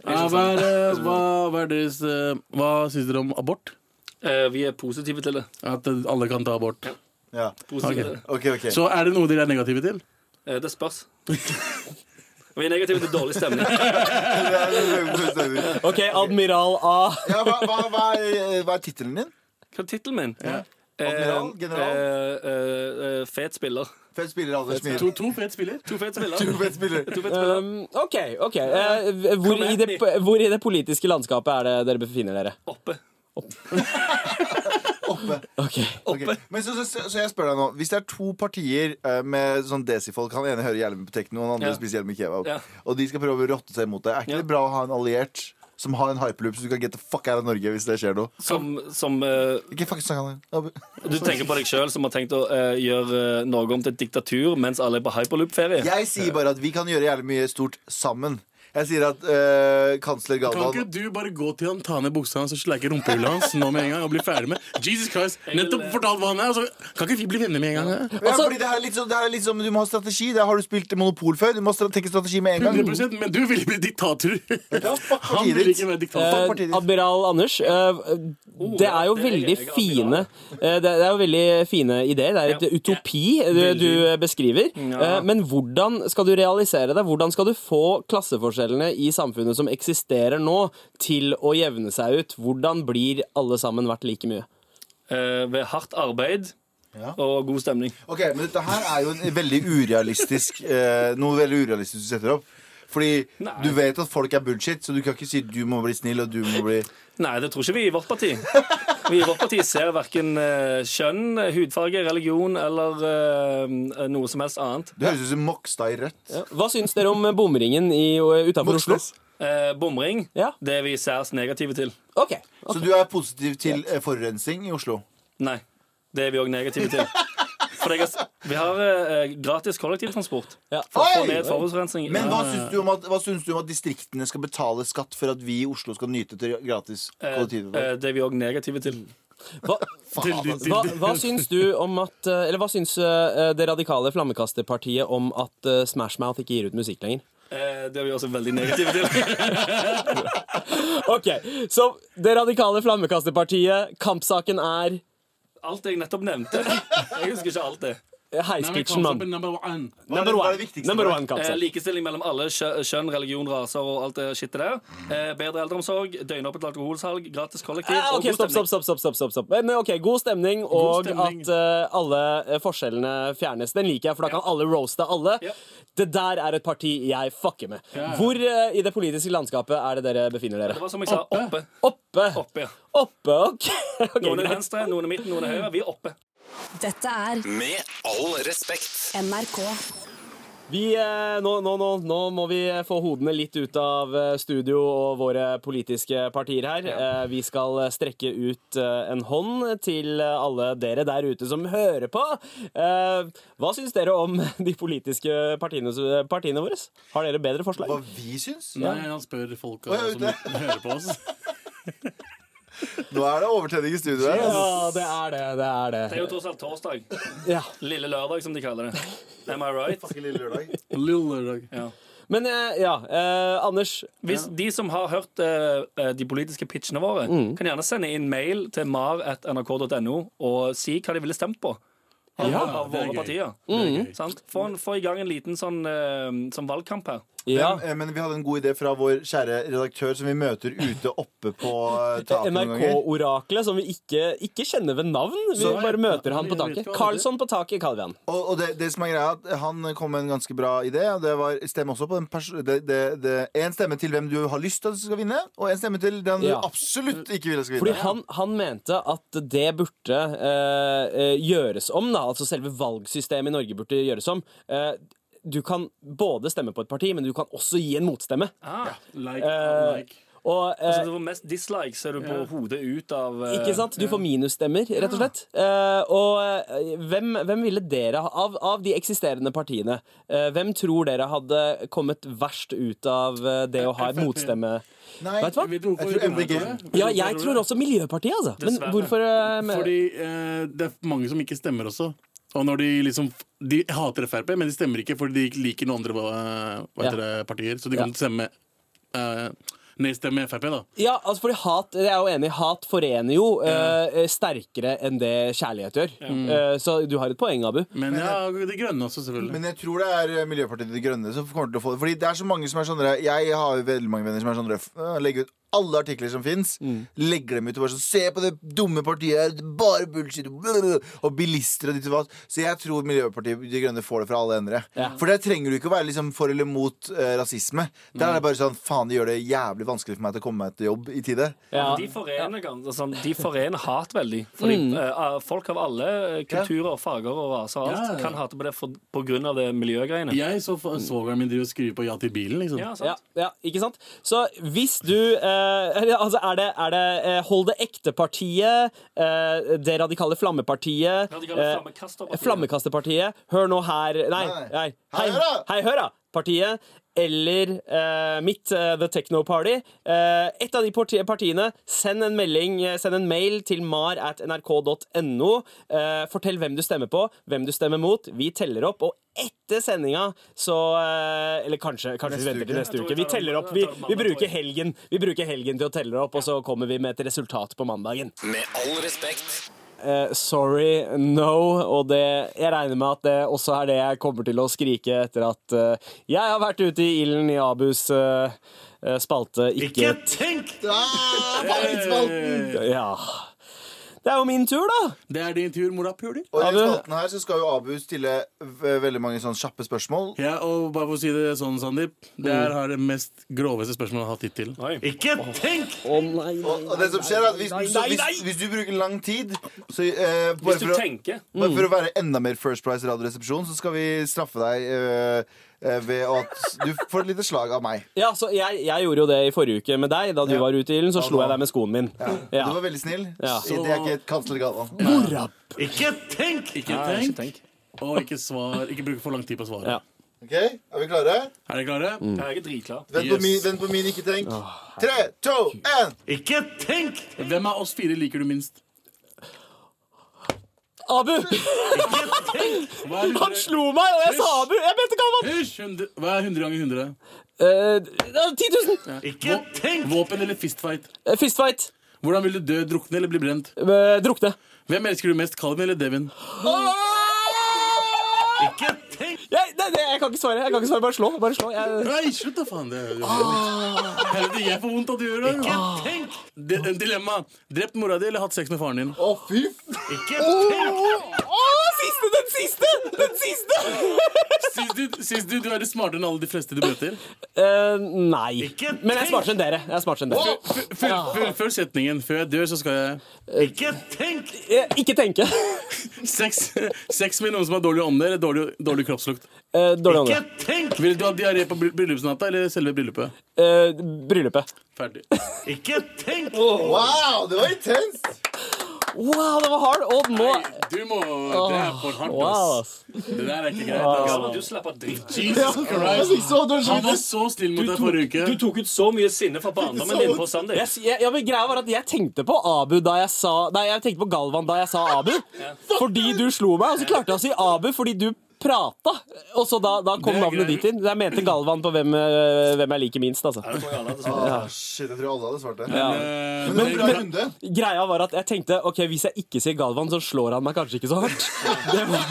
[SPEAKER 3] ja, hva er, eh, hva, hva er deres eh, Hva syns dere om abort?
[SPEAKER 5] Eh, vi er positive til det.
[SPEAKER 3] At eh, alle kan ta abort.
[SPEAKER 2] Ja.
[SPEAKER 5] Positive
[SPEAKER 3] Ok.
[SPEAKER 5] til det.
[SPEAKER 2] Ok, ok.
[SPEAKER 3] Så er det noe dere er negative til?
[SPEAKER 5] Eh, det spørs. vi er negative til dårlig stemning.
[SPEAKER 2] ja,
[SPEAKER 4] Ok, Admiral A.
[SPEAKER 2] hva, hva, hva er, hva er tittelen din?
[SPEAKER 5] Hva er tittelen min?
[SPEAKER 2] Admiral?
[SPEAKER 5] Eh,
[SPEAKER 2] General?
[SPEAKER 5] eh, eh, eh, fet spiller.
[SPEAKER 2] Fett spiller, Anders Myhre.
[SPEAKER 3] To, to fet spiller.
[SPEAKER 5] To fet spiller.
[SPEAKER 2] To fett spiller.
[SPEAKER 5] To fet spiller.
[SPEAKER 4] Um, OK. ok Eh, hvor, i det, hvor i det politiske landskapet er det dere befinner dere?
[SPEAKER 5] Oppe.
[SPEAKER 2] Oppe.
[SPEAKER 4] Ok
[SPEAKER 2] Ok, Men så, så, så jeg spør deg nå Hvis det er to partier eh, med sånn desifolk Han ene hører hjelm på tekno, og den andre
[SPEAKER 5] Ja.
[SPEAKER 2] spiser hjelm med kebab
[SPEAKER 5] Ja.
[SPEAKER 2] Og de skal prøve å rotte seg mot deg Er ikke
[SPEAKER 5] Ja.
[SPEAKER 2] det bra å ha en alliert som har en hyperloop Så du kan get the fuck out av Norge hvis det skjer noe
[SPEAKER 5] Som, som eh,
[SPEAKER 2] Ikke fucking snakke om det Abu.
[SPEAKER 5] Du tenker på deg sjøl som har tenkt å eh, gjøre eh, Norge om til et diktatur mens alle er på hyperloop-ferie.
[SPEAKER 2] Jeg sier bare at vi kan gjøre jævlig mye stort sammen Jeg sier at eh, kansler
[SPEAKER 3] Kan ikke
[SPEAKER 2] Galvan
[SPEAKER 3] du bare gå til han, ta ned buksa hans og sleike rumpehullet hans nå med en gang og bli ferdig med Jesus Christ, nettopp fortalt hva han er. Altså, kan ikke vi bli venner med en gang? eh?
[SPEAKER 2] ja, fordi det her er litt sånn, det her er litt sånn Du må ha strategi, det her har du spilt monopol før Du må stra- tenke strategi med en gang
[SPEAKER 3] 100 Men du ville bli diktator.
[SPEAKER 2] Ja, fuck
[SPEAKER 3] Han
[SPEAKER 2] partiet
[SPEAKER 3] ville
[SPEAKER 2] ditt.
[SPEAKER 3] ikke være
[SPEAKER 2] Eh,
[SPEAKER 3] diktator.
[SPEAKER 2] Fuck partiet ditt.
[SPEAKER 4] Admiral Anders, eh, det er jo
[SPEAKER 5] Oh, det er
[SPEAKER 4] veldig
[SPEAKER 5] jeg, jeg er
[SPEAKER 4] fine
[SPEAKER 5] admiral.
[SPEAKER 4] eh, Det det er jo veldig fine ideer. Det er et
[SPEAKER 5] Ja.
[SPEAKER 4] utopi du, du beskriver.
[SPEAKER 5] Ja.
[SPEAKER 4] Eh, Men hvordan skal du realisere det? Hvordan skal du få klasseforskjellene i samfunnet som eksisterer nå, til å jevne seg ut? Hvordan blir alle sammen verdt like mye?
[SPEAKER 5] Eh, ved hardt arbeid
[SPEAKER 2] Ja.
[SPEAKER 5] og god stemning.
[SPEAKER 2] Ok, men dette her er jo en veldig urealistisk eh, Noe veldig urealistisk du setter opp Fordi
[SPEAKER 5] Nei.
[SPEAKER 2] du vet at folk er bullshit Så du kan ikke si du må bli snill og du må bli
[SPEAKER 5] Nei, det tror ikke vi i vårt parti. Vi i vårt parti ser verken kjønn, eh, hudfarge, religion eller eh, noe som helst annet.
[SPEAKER 2] Du høres ut som Mokstad i rødt
[SPEAKER 4] Eh, Hva syns dere om bomringen i- utenfor Oslo?
[SPEAKER 2] Moxnes.
[SPEAKER 5] Eh, Bomring,
[SPEAKER 4] Ja.
[SPEAKER 5] det er vi særs negative til.
[SPEAKER 4] Ok,
[SPEAKER 2] Så du er positiv til eh, forurensning i Oslo
[SPEAKER 5] Nei, det er vi òg negative til. For jeg, har s- vi har eh, gratis kollektivtransport.
[SPEAKER 4] ja.
[SPEAKER 5] For å
[SPEAKER 2] Oi!
[SPEAKER 5] få ned forurensning.
[SPEAKER 2] Men hva syns, du om at, hva syns du om at distriktene skal betale skatt For at vi i Oslo skal nyte til gratis
[SPEAKER 5] Eh,
[SPEAKER 2] kollektivtransport? altså.
[SPEAKER 5] eh, Det er vi òg negative til.
[SPEAKER 4] Hva,
[SPEAKER 3] Til- til- til-
[SPEAKER 4] hva, hva syns du om at eh, Eller hva syns eh, det radikale flammekasterpartiet om at eh, Smashmouth ikke gir ut musikk lenger?
[SPEAKER 5] Eh, Det er vi også veldig negative til.
[SPEAKER 4] Ok, Så det radikale flammekasterpartiet, kampsaken er eh,
[SPEAKER 5] Alt jeg nettopp nevnte. Jeg husker ikke alt det.
[SPEAKER 3] Nei, men
[SPEAKER 4] heiskitsjen,
[SPEAKER 3] kanskje
[SPEAKER 4] mann.
[SPEAKER 3] number one.
[SPEAKER 2] Hva er det- hva er det viktigste
[SPEAKER 4] Number
[SPEAKER 2] for deg?
[SPEAKER 4] one
[SPEAKER 5] Eh,
[SPEAKER 4] kampsak.
[SPEAKER 5] likestilling mellom alle kjø- kjønn, religion, raser og alt det skittet der.
[SPEAKER 3] Mm.
[SPEAKER 5] Eh, bedre eldreomsorg, døgnåpent alkoholsalg, gratis kollektiv
[SPEAKER 3] Eh,
[SPEAKER 4] Ah, ok,
[SPEAKER 5] og god
[SPEAKER 4] stopp, stopp,
[SPEAKER 5] stemning.
[SPEAKER 4] stopp, stopp, stopp, stopp, stopp. Men ok, God stemning
[SPEAKER 3] God
[SPEAKER 4] og
[SPEAKER 3] stemning.
[SPEAKER 4] at eh, alle eh, forskjellene fjernes. Den liker jeg, for da kan alle roaste alle.
[SPEAKER 5] Ja.
[SPEAKER 4] Det der er et parti jeg fucker med. Hvor eh, i det politiske landskapet er det dere befinner
[SPEAKER 5] Det
[SPEAKER 4] dere?
[SPEAKER 5] var som jeg sa,
[SPEAKER 3] Oppe.
[SPEAKER 5] oppe.
[SPEAKER 4] Oppe!
[SPEAKER 5] Oppe, ja.
[SPEAKER 4] Oppe, ok. Ok,
[SPEAKER 5] Noen er
[SPEAKER 4] greit.
[SPEAKER 5] venstre, noen er midten, noen er høyre. Vi er oppe.
[SPEAKER 6] Dette er
[SPEAKER 1] Med all respekt.
[SPEAKER 6] NRK.
[SPEAKER 4] Vi, eh, nå, nå, nå, nå må vi få hodene litt ut av eh, studio og våre politiske partier her. Eh, Vi skal eh, strekke ut eh, en hånd til eh, alle dere der ute som hører på. Eh, Hva syns dere om de politiske partiene, partiene våre? Har dere bedre
[SPEAKER 2] Hva
[SPEAKER 4] forslag?
[SPEAKER 2] vi syns?
[SPEAKER 3] Nei, han spør folk
[SPEAKER 2] Å, jeg
[SPEAKER 3] som
[SPEAKER 2] vet
[SPEAKER 3] hører på oss.
[SPEAKER 2] Nå er det overtenning i studio her altså.
[SPEAKER 4] Ja, det er det. Det er
[SPEAKER 5] Det er
[SPEAKER 4] det.
[SPEAKER 5] jo tross alt torsdag.
[SPEAKER 4] Ja.
[SPEAKER 5] Lille lørdag, som de kaller det. Am I right?
[SPEAKER 2] Lille lørdag.
[SPEAKER 3] Lille dag.
[SPEAKER 5] Ja.
[SPEAKER 4] Men eh, ja, eh, Anders.
[SPEAKER 5] Hvis de som har hørt eh, eh, de politiske pitchene våre,
[SPEAKER 3] Mm.
[SPEAKER 5] kan gjerne sende inn mail til mar.nrk.no og si hva de ville stemt på. Av, av
[SPEAKER 3] det er
[SPEAKER 5] våre
[SPEAKER 3] gøy. Mm.
[SPEAKER 5] partier. Sant? Få, en- få i gang en liten sånn, eh, sånn valgkamp her.
[SPEAKER 4] Ja.
[SPEAKER 2] Men, eh, men vi hadde en god idé fra vår kjære redaktør som vi møter ute oppe på eh, taket noen ganger.
[SPEAKER 4] NRK-oraklet som vi ikke, ikke kjenner ved navn. Vi
[SPEAKER 3] Så-
[SPEAKER 4] bare møter han på
[SPEAKER 3] Jeg vet
[SPEAKER 4] taket.
[SPEAKER 3] ikke hva det er.
[SPEAKER 4] Karlsson på taket kaller vi han.
[SPEAKER 2] Og, og det, det som er greia, er at han kom med en ganske bra idé. Og det var stemme også på den pers det, det, det, En stemme til hvem du har lyst til at skal vinne, og en stemme til den
[SPEAKER 4] Ja.
[SPEAKER 2] du absolutt ikke vil at skal
[SPEAKER 4] Fordi
[SPEAKER 2] vinne.
[SPEAKER 4] han, han mente at det burde eh, eh, gjøres om, da. Altså selve valgsystemet i Norge burde gjøres om. Eh, du kan både stemme på et parti, men du kan også gi en motstemme.
[SPEAKER 5] Ah.
[SPEAKER 3] Like,
[SPEAKER 4] Eh,
[SPEAKER 3] like.
[SPEAKER 4] Og, eh,
[SPEAKER 5] Så du får Altså, mest dislikes, så er du på hodet ut av eh,
[SPEAKER 4] ikke sant? Du får minusstemmer, rett og slett. Eh, og eh, hvem, hvem ville dere ha av, av de eksisterende partiene? eh, hvem tror dere hadde kommet verst ut av eh, det å ha en
[SPEAKER 3] FrP.
[SPEAKER 4] motstemme?
[SPEAKER 2] Nei,
[SPEAKER 4] Vet du hva?
[SPEAKER 3] Vet du hvorfor
[SPEAKER 2] Jeg tror
[SPEAKER 3] vi tror
[SPEAKER 2] MDG.
[SPEAKER 3] det?
[SPEAKER 4] Ja, jeg tror også Miljøpartiet, altså. Men
[SPEAKER 5] Dessverre.
[SPEAKER 4] hvorfor eh, med-
[SPEAKER 3] Fordi eh, det er mange som ikke stemmer også. Og når de liksom De hater Frp, men de stemmer ikke fordi de ikke liker noen andre eh, hva heter det, partier. Så de kan
[SPEAKER 4] Ja.
[SPEAKER 3] stemme eh, nedstemme Frp, da.
[SPEAKER 4] Ja, altså fordi hat, jeg er jo enig, hat forener jo eh, sterkere enn det kjærlighet gjør. Eh, så du har et poeng, Abu.
[SPEAKER 3] Men ja,
[SPEAKER 4] eh,
[SPEAKER 3] De grønne også, selvfølgelig.
[SPEAKER 2] Men jeg tror det er eh, Miljøpartiet De Grønne som kommer til å få det. Fordi det er så mange som er sånn der- Jeg har jo veldig mange venner som er sånn der, f- øh, legger ut alle artikler som fins,
[SPEAKER 4] Mm.
[SPEAKER 2] legger dem ut og bare sånn Se på det dumme partiet her, det er bare bullshit. Og bilister og ditt og datt. Så jeg tror Miljøpartiet De Grønne får det fra alle endre. For der trenger du ikke å være liksom for eller mot eh, rasisme. Der
[SPEAKER 4] Mm.
[SPEAKER 2] er det bare sånn Faen, det gjør det jævlig vanskelig for meg til å komme meg til jobb i tide.
[SPEAKER 4] Ja.
[SPEAKER 5] De forener, gans- altså, de forener hat veldig. Fordi eh, Folk av alle eh, kulturer, farger og raser og alt
[SPEAKER 3] Ja.
[SPEAKER 5] kan hate på det for, på grunn av det miljøgreiene.
[SPEAKER 3] Jeg så f- svogeren min driver og skriver på ja til bilen, liksom.
[SPEAKER 5] Ja,
[SPEAKER 4] Ja,
[SPEAKER 5] sant?
[SPEAKER 4] ja, ikke sant? Så hvis du eh, Altså, er det, er det eh, Hold det ekte-partiet, eh, det radikale flammepartiet
[SPEAKER 5] Radikale
[SPEAKER 4] eh,
[SPEAKER 5] flammekasterpartiet.
[SPEAKER 4] Flammekasterpartiet. Hør nå her Nei,
[SPEAKER 2] Nei.
[SPEAKER 4] nei.
[SPEAKER 2] Hei,
[SPEAKER 4] Hei,
[SPEAKER 2] høra!
[SPEAKER 4] hei høra! Partiet. Eller eh, mitt, eh, The Techno Party. Eh, et av de parti partiene, send en melding, eh, send en mail til mar at nrk.no. Eh, fortell hvem du stemmer på, hvem du stemmer mot. Vi teller opp, og etter sendinga så eh, Eller kanskje, kanskje vi venter til
[SPEAKER 2] uke.
[SPEAKER 4] neste uke. Vi teller opp. Vi, vi, bruker helgen, vi bruker helgen til å telle opp, og så kommer vi med et resultat på mandagen.
[SPEAKER 1] Med all respekt.
[SPEAKER 4] Eh, sorry, no. Og det, jeg regner med at det også er det jeg kommer til å skrike etter at eh, jeg har vært ute i ilden i Abus eh, eh, spalte. Ikke, Eh,
[SPEAKER 3] Ikke tenk!
[SPEAKER 2] Ah, Fagspalten!
[SPEAKER 4] Ja. Det er jo min tur, da!
[SPEAKER 3] Det er din tur, morapuler.
[SPEAKER 2] Og i den
[SPEAKER 4] Abu-
[SPEAKER 2] spalten her så skal jo Abu stille v- veldig mange sånn kjappe spørsmål.
[SPEAKER 3] Ja, og bare for å si det sånn, Sandeep. Det
[SPEAKER 5] Mm.
[SPEAKER 3] her har det mest groveste spørsmålet jeg har hatt hittil.
[SPEAKER 5] Oi.
[SPEAKER 3] Ikke tenk!
[SPEAKER 4] Å nei, nei,
[SPEAKER 2] Og det som skjer er at Hvis,
[SPEAKER 4] nei,
[SPEAKER 2] så
[SPEAKER 4] nei,
[SPEAKER 2] hvis,
[SPEAKER 4] nei.
[SPEAKER 2] hvis du bruker lang tid så, eh, bare,
[SPEAKER 5] Hvis du
[SPEAKER 2] for å,
[SPEAKER 5] tenker
[SPEAKER 2] bare for å være enda mer First Price Radioresepsjon, så skal vi straffe deg eh, eh, ved at du får et lite slag av meg.
[SPEAKER 4] Ja, så jeg, jeg gjorde jo det i forrige uke med deg. Da du
[SPEAKER 2] Ja.
[SPEAKER 4] var ute i ilden, så
[SPEAKER 2] Ja,
[SPEAKER 4] slo
[SPEAKER 2] da-
[SPEAKER 4] jeg deg med skoen min. Ja.
[SPEAKER 2] Du var veldig snill.
[SPEAKER 4] Ja.
[SPEAKER 2] Så... Det er ikke et kansler Galvan.
[SPEAKER 3] Ikke tenk! Ikke
[SPEAKER 5] Nei,
[SPEAKER 3] tenk.
[SPEAKER 5] ikke tenk.
[SPEAKER 3] Og ikke svar. Ikke bruk for lang tid på svaret.
[SPEAKER 4] Ja.
[SPEAKER 2] Ok, Er vi klare?
[SPEAKER 3] Er dere klare?
[SPEAKER 5] Jeg er ikke dritklar.
[SPEAKER 2] Vent på
[SPEAKER 3] Yes.
[SPEAKER 2] min, vent på min ikke tenk. Tre, to, én!
[SPEAKER 3] Ikke tenk! Hvem av oss fire liker du minst?
[SPEAKER 4] Abu!
[SPEAKER 3] Ikke tenk! Hva er
[SPEAKER 4] Han
[SPEAKER 3] 100,
[SPEAKER 4] slo meg, og jeg sa Abu! Jeg mente ikke han var
[SPEAKER 3] Hysj! 100 hva er 100 ganger 100?
[SPEAKER 4] Eh, 10 000!
[SPEAKER 3] Ikke tenk! Våpen eller fistfight?
[SPEAKER 4] Eh, Fistfight.
[SPEAKER 3] Hvordan vil du dø? Drukne eller bli brent?
[SPEAKER 4] Eh, drukne.
[SPEAKER 3] Hvem elsker du mest, Calvin eller Devin? Ikke tenk!
[SPEAKER 4] Jeg, nei, nei, jeg kan ikke svare. Jeg kan ikke svare. Bare slå. Bare slå. Jeg,
[SPEAKER 3] Nei, slutt da, faen. Det er jo Helvete, jeg får vondt av det gjør det. Ah. Ikke tenk! dilemma. Drept mora di eller hatt sex med faren din?
[SPEAKER 2] Å, fy f-
[SPEAKER 3] Ikke tenk!
[SPEAKER 4] Å, siste! Den siste! Den siste!
[SPEAKER 3] Syns du, syns du du er smartere enn alle de fleste du møter?
[SPEAKER 4] Eh, nei.
[SPEAKER 3] Ikke tenk!
[SPEAKER 4] Men jeg er smartere enn dere. Jeg er smartere enn dere.
[SPEAKER 3] Full- full- full- Full setningen. Før jeg dør, så skal jeg Ikke tenk!
[SPEAKER 4] Eh, ikke tenke.
[SPEAKER 3] Sex, sex med noen som har dårlig ånde eller dårlig, dårlig kroppslukt.
[SPEAKER 4] Eh, dårlig ånde.
[SPEAKER 3] tenk! Vil du ha diaré på bry- bryllupsnatta eller selve bryllupet?
[SPEAKER 4] Eh, bryllupet.
[SPEAKER 3] Ferdig. Ikke tenk!
[SPEAKER 2] Wow, det var intenst!
[SPEAKER 4] Wow, det var hard. Og nå
[SPEAKER 3] Du må Det er for hardt,
[SPEAKER 4] Wow,
[SPEAKER 3] ass. Det der er ikke greit.
[SPEAKER 5] Ja, men
[SPEAKER 3] ass.
[SPEAKER 5] du slapp av dritt.
[SPEAKER 3] Jesus
[SPEAKER 2] Jeg
[SPEAKER 3] Christ.
[SPEAKER 2] fikk så dårlig
[SPEAKER 3] Han var
[SPEAKER 2] samvittighet.
[SPEAKER 3] så snill mot
[SPEAKER 5] Du
[SPEAKER 3] deg
[SPEAKER 5] tok,
[SPEAKER 3] forrige uke.
[SPEAKER 5] du tok ut så mye sinne fra barndommen din på Sandeep.
[SPEAKER 4] jeg, jeg, ja, men greia var at jeg tenkte på Abu da jeg sa Nei, jeg tenkte på Galvan da jeg sa Abu. Fordi du slo meg, og så klarte jeg å si Abu fordi du prata. Og så da, da kom
[SPEAKER 3] Det er
[SPEAKER 4] navnet
[SPEAKER 3] greit.
[SPEAKER 4] ditt inn. Jeg mente Galvan på hvem, eh, hvem jeg liker minst, altså.
[SPEAKER 2] Ah, shit, jeg tror alle hadde svart det.
[SPEAKER 3] Eh,
[SPEAKER 2] Men, det var en
[SPEAKER 3] men-
[SPEAKER 2] runde.
[SPEAKER 4] Greia var at jeg tenkte ok, hvis jeg ikke sier Galvan, så slår han meg kanskje ikke så hardt. Det var,